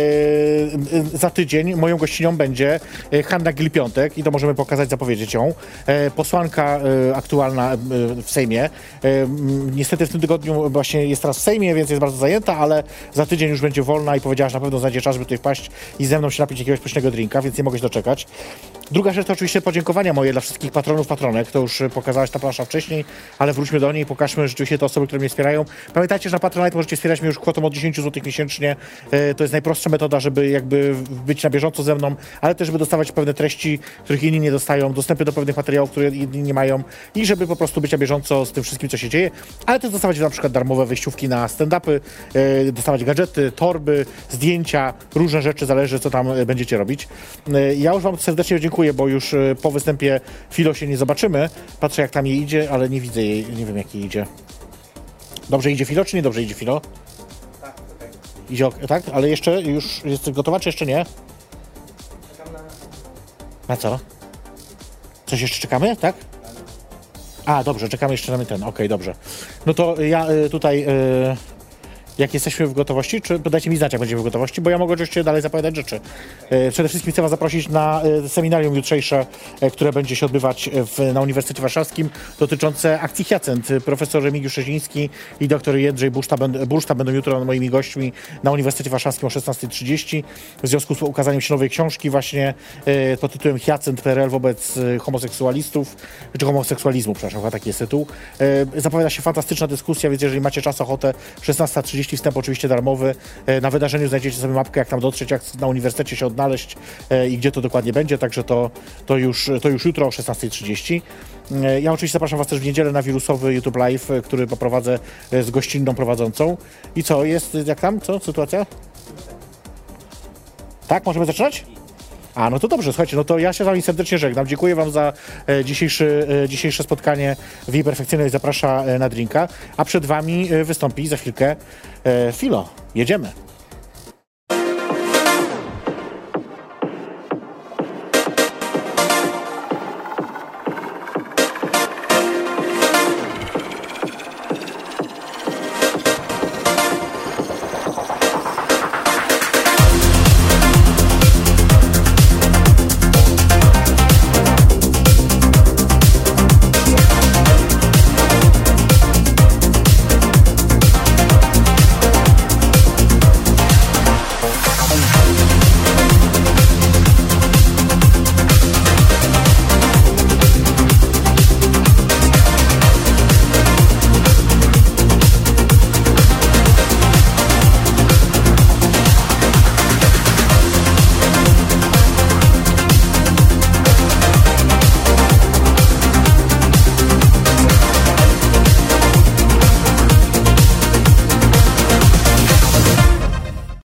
e, za tydzień moją gościnią będzie e, Hanna Gil-Piątek i to możemy pokazać, zapowiedzieć ją. E, posłanka e, aktualna e, w Sejmie. E, m, niestety w tym tygodniu właśnie jest teraz w Sejmie, więc jest bardzo zajęta, ale za tydzień już będzie wolna i powiedziała, że na pewno znajdzie czas, żeby tutaj wpaść i ze mną się napić jakiegoś pysznego drinka, więc nie mogę się doczekać. Druga rzecz to oczywiście podziękowania moje dla wszystkich patronów, patronek. To już e, pokazałaś ta plansza wcześniej, ale wróćmy do niej i pokażmy rzeczywiście te osoby, które mnie wspierają. Pamiętajcie, że na Patronite możecie wspierać mnie już kwotą od 10 zł miesięcznie. E, To jest najprostsza metoda, żeby jakby być na bieżąco ze mną, ale też, żeby dostawać pewne treści, których inni nie dostają, dostępy do pewnych materiałów, które inni nie mają i żeby po prostu być na bieżąco z tym wszystkim, co się dzieje, ale też dostawać na przykład darmowe wyjściówki na stand-upy, e, dostawać gadżety, torby, zdjęcia, różne rzeczy, zależy co tam e, będziecie robić. E, Ja już Wam serdecznie dziękuję, bo już e, po występie Filo się nie zobaczymy. Patrzę jak tam jej idzie, ale nie widzę jej, nie wiem jak jej idzie. Dobrze idzie Filo, czy nie dobrze idzie Filo? Tak, Idzie ok, tak? Ale jeszcze, już jesteś gotowa, czy jeszcze nie? Na co? Coś jeszcze czekamy, tak? A, dobrze, czekamy jeszcze na ten, okej, dobrze. No to ja y, tutaj y, Jak jesteśmy w gotowości, czy dajcie mi znać, jak będziemy w gotowości, bo ja mogę oczywiście dalej zapowiadać rzeczy. E, Przede wszystkim chcę Was zaprosić na e, seminarium jutrzejsze, e, które będzie się odbywać w, na Uniwersytecie Warszawskim dotyczące akcji Hiacent. Profesor Remigiusz Szeziński i dr Jędrzej Burszta, będ- Burszta będą jutro moimi gośćmi na Uniwersytecie Warszawskim o 16.30 w związku z ukazaniem się nowej książki właśnie e, pod tytułem Hiacent PRL wobec e, homoseksualistów, czy homoseksualizmu, przepraszam, chyba taki jest tytuł. E, Zapowiada się fantastyczna dyskusja, więc jeżeli macie czas, ochotę, 16.30, wstęp oczywiście darmowy. E, Na wydarzeniu znajdziecie sobie mapkę, jak tam dotrzeć, jak na uniwersytecie się odnaleźć e, i gdzie to dokładnie będzie, także to, to, już, to już jutro o 16.30. E, Ja oczywiście zapraszam Was też w niedzielę na wirusowy YouTube Live, e, który poprowadzę e, z gościnną prowadzącą. I co, jest e, jak tam? Co? Sytuacja? Tak, możemy zaczynać? A, no to dobrze, słuchajcie, no to ja się z wami serdecznie żegnam. Dziękuję wam za e, dzisiejszy, e, dzisiejsze spotkanie w jej perfekcyjnej zaprasza e, na drinka, a przed wami e, wystąpi za chwilkę e, Filo. Jedziemy.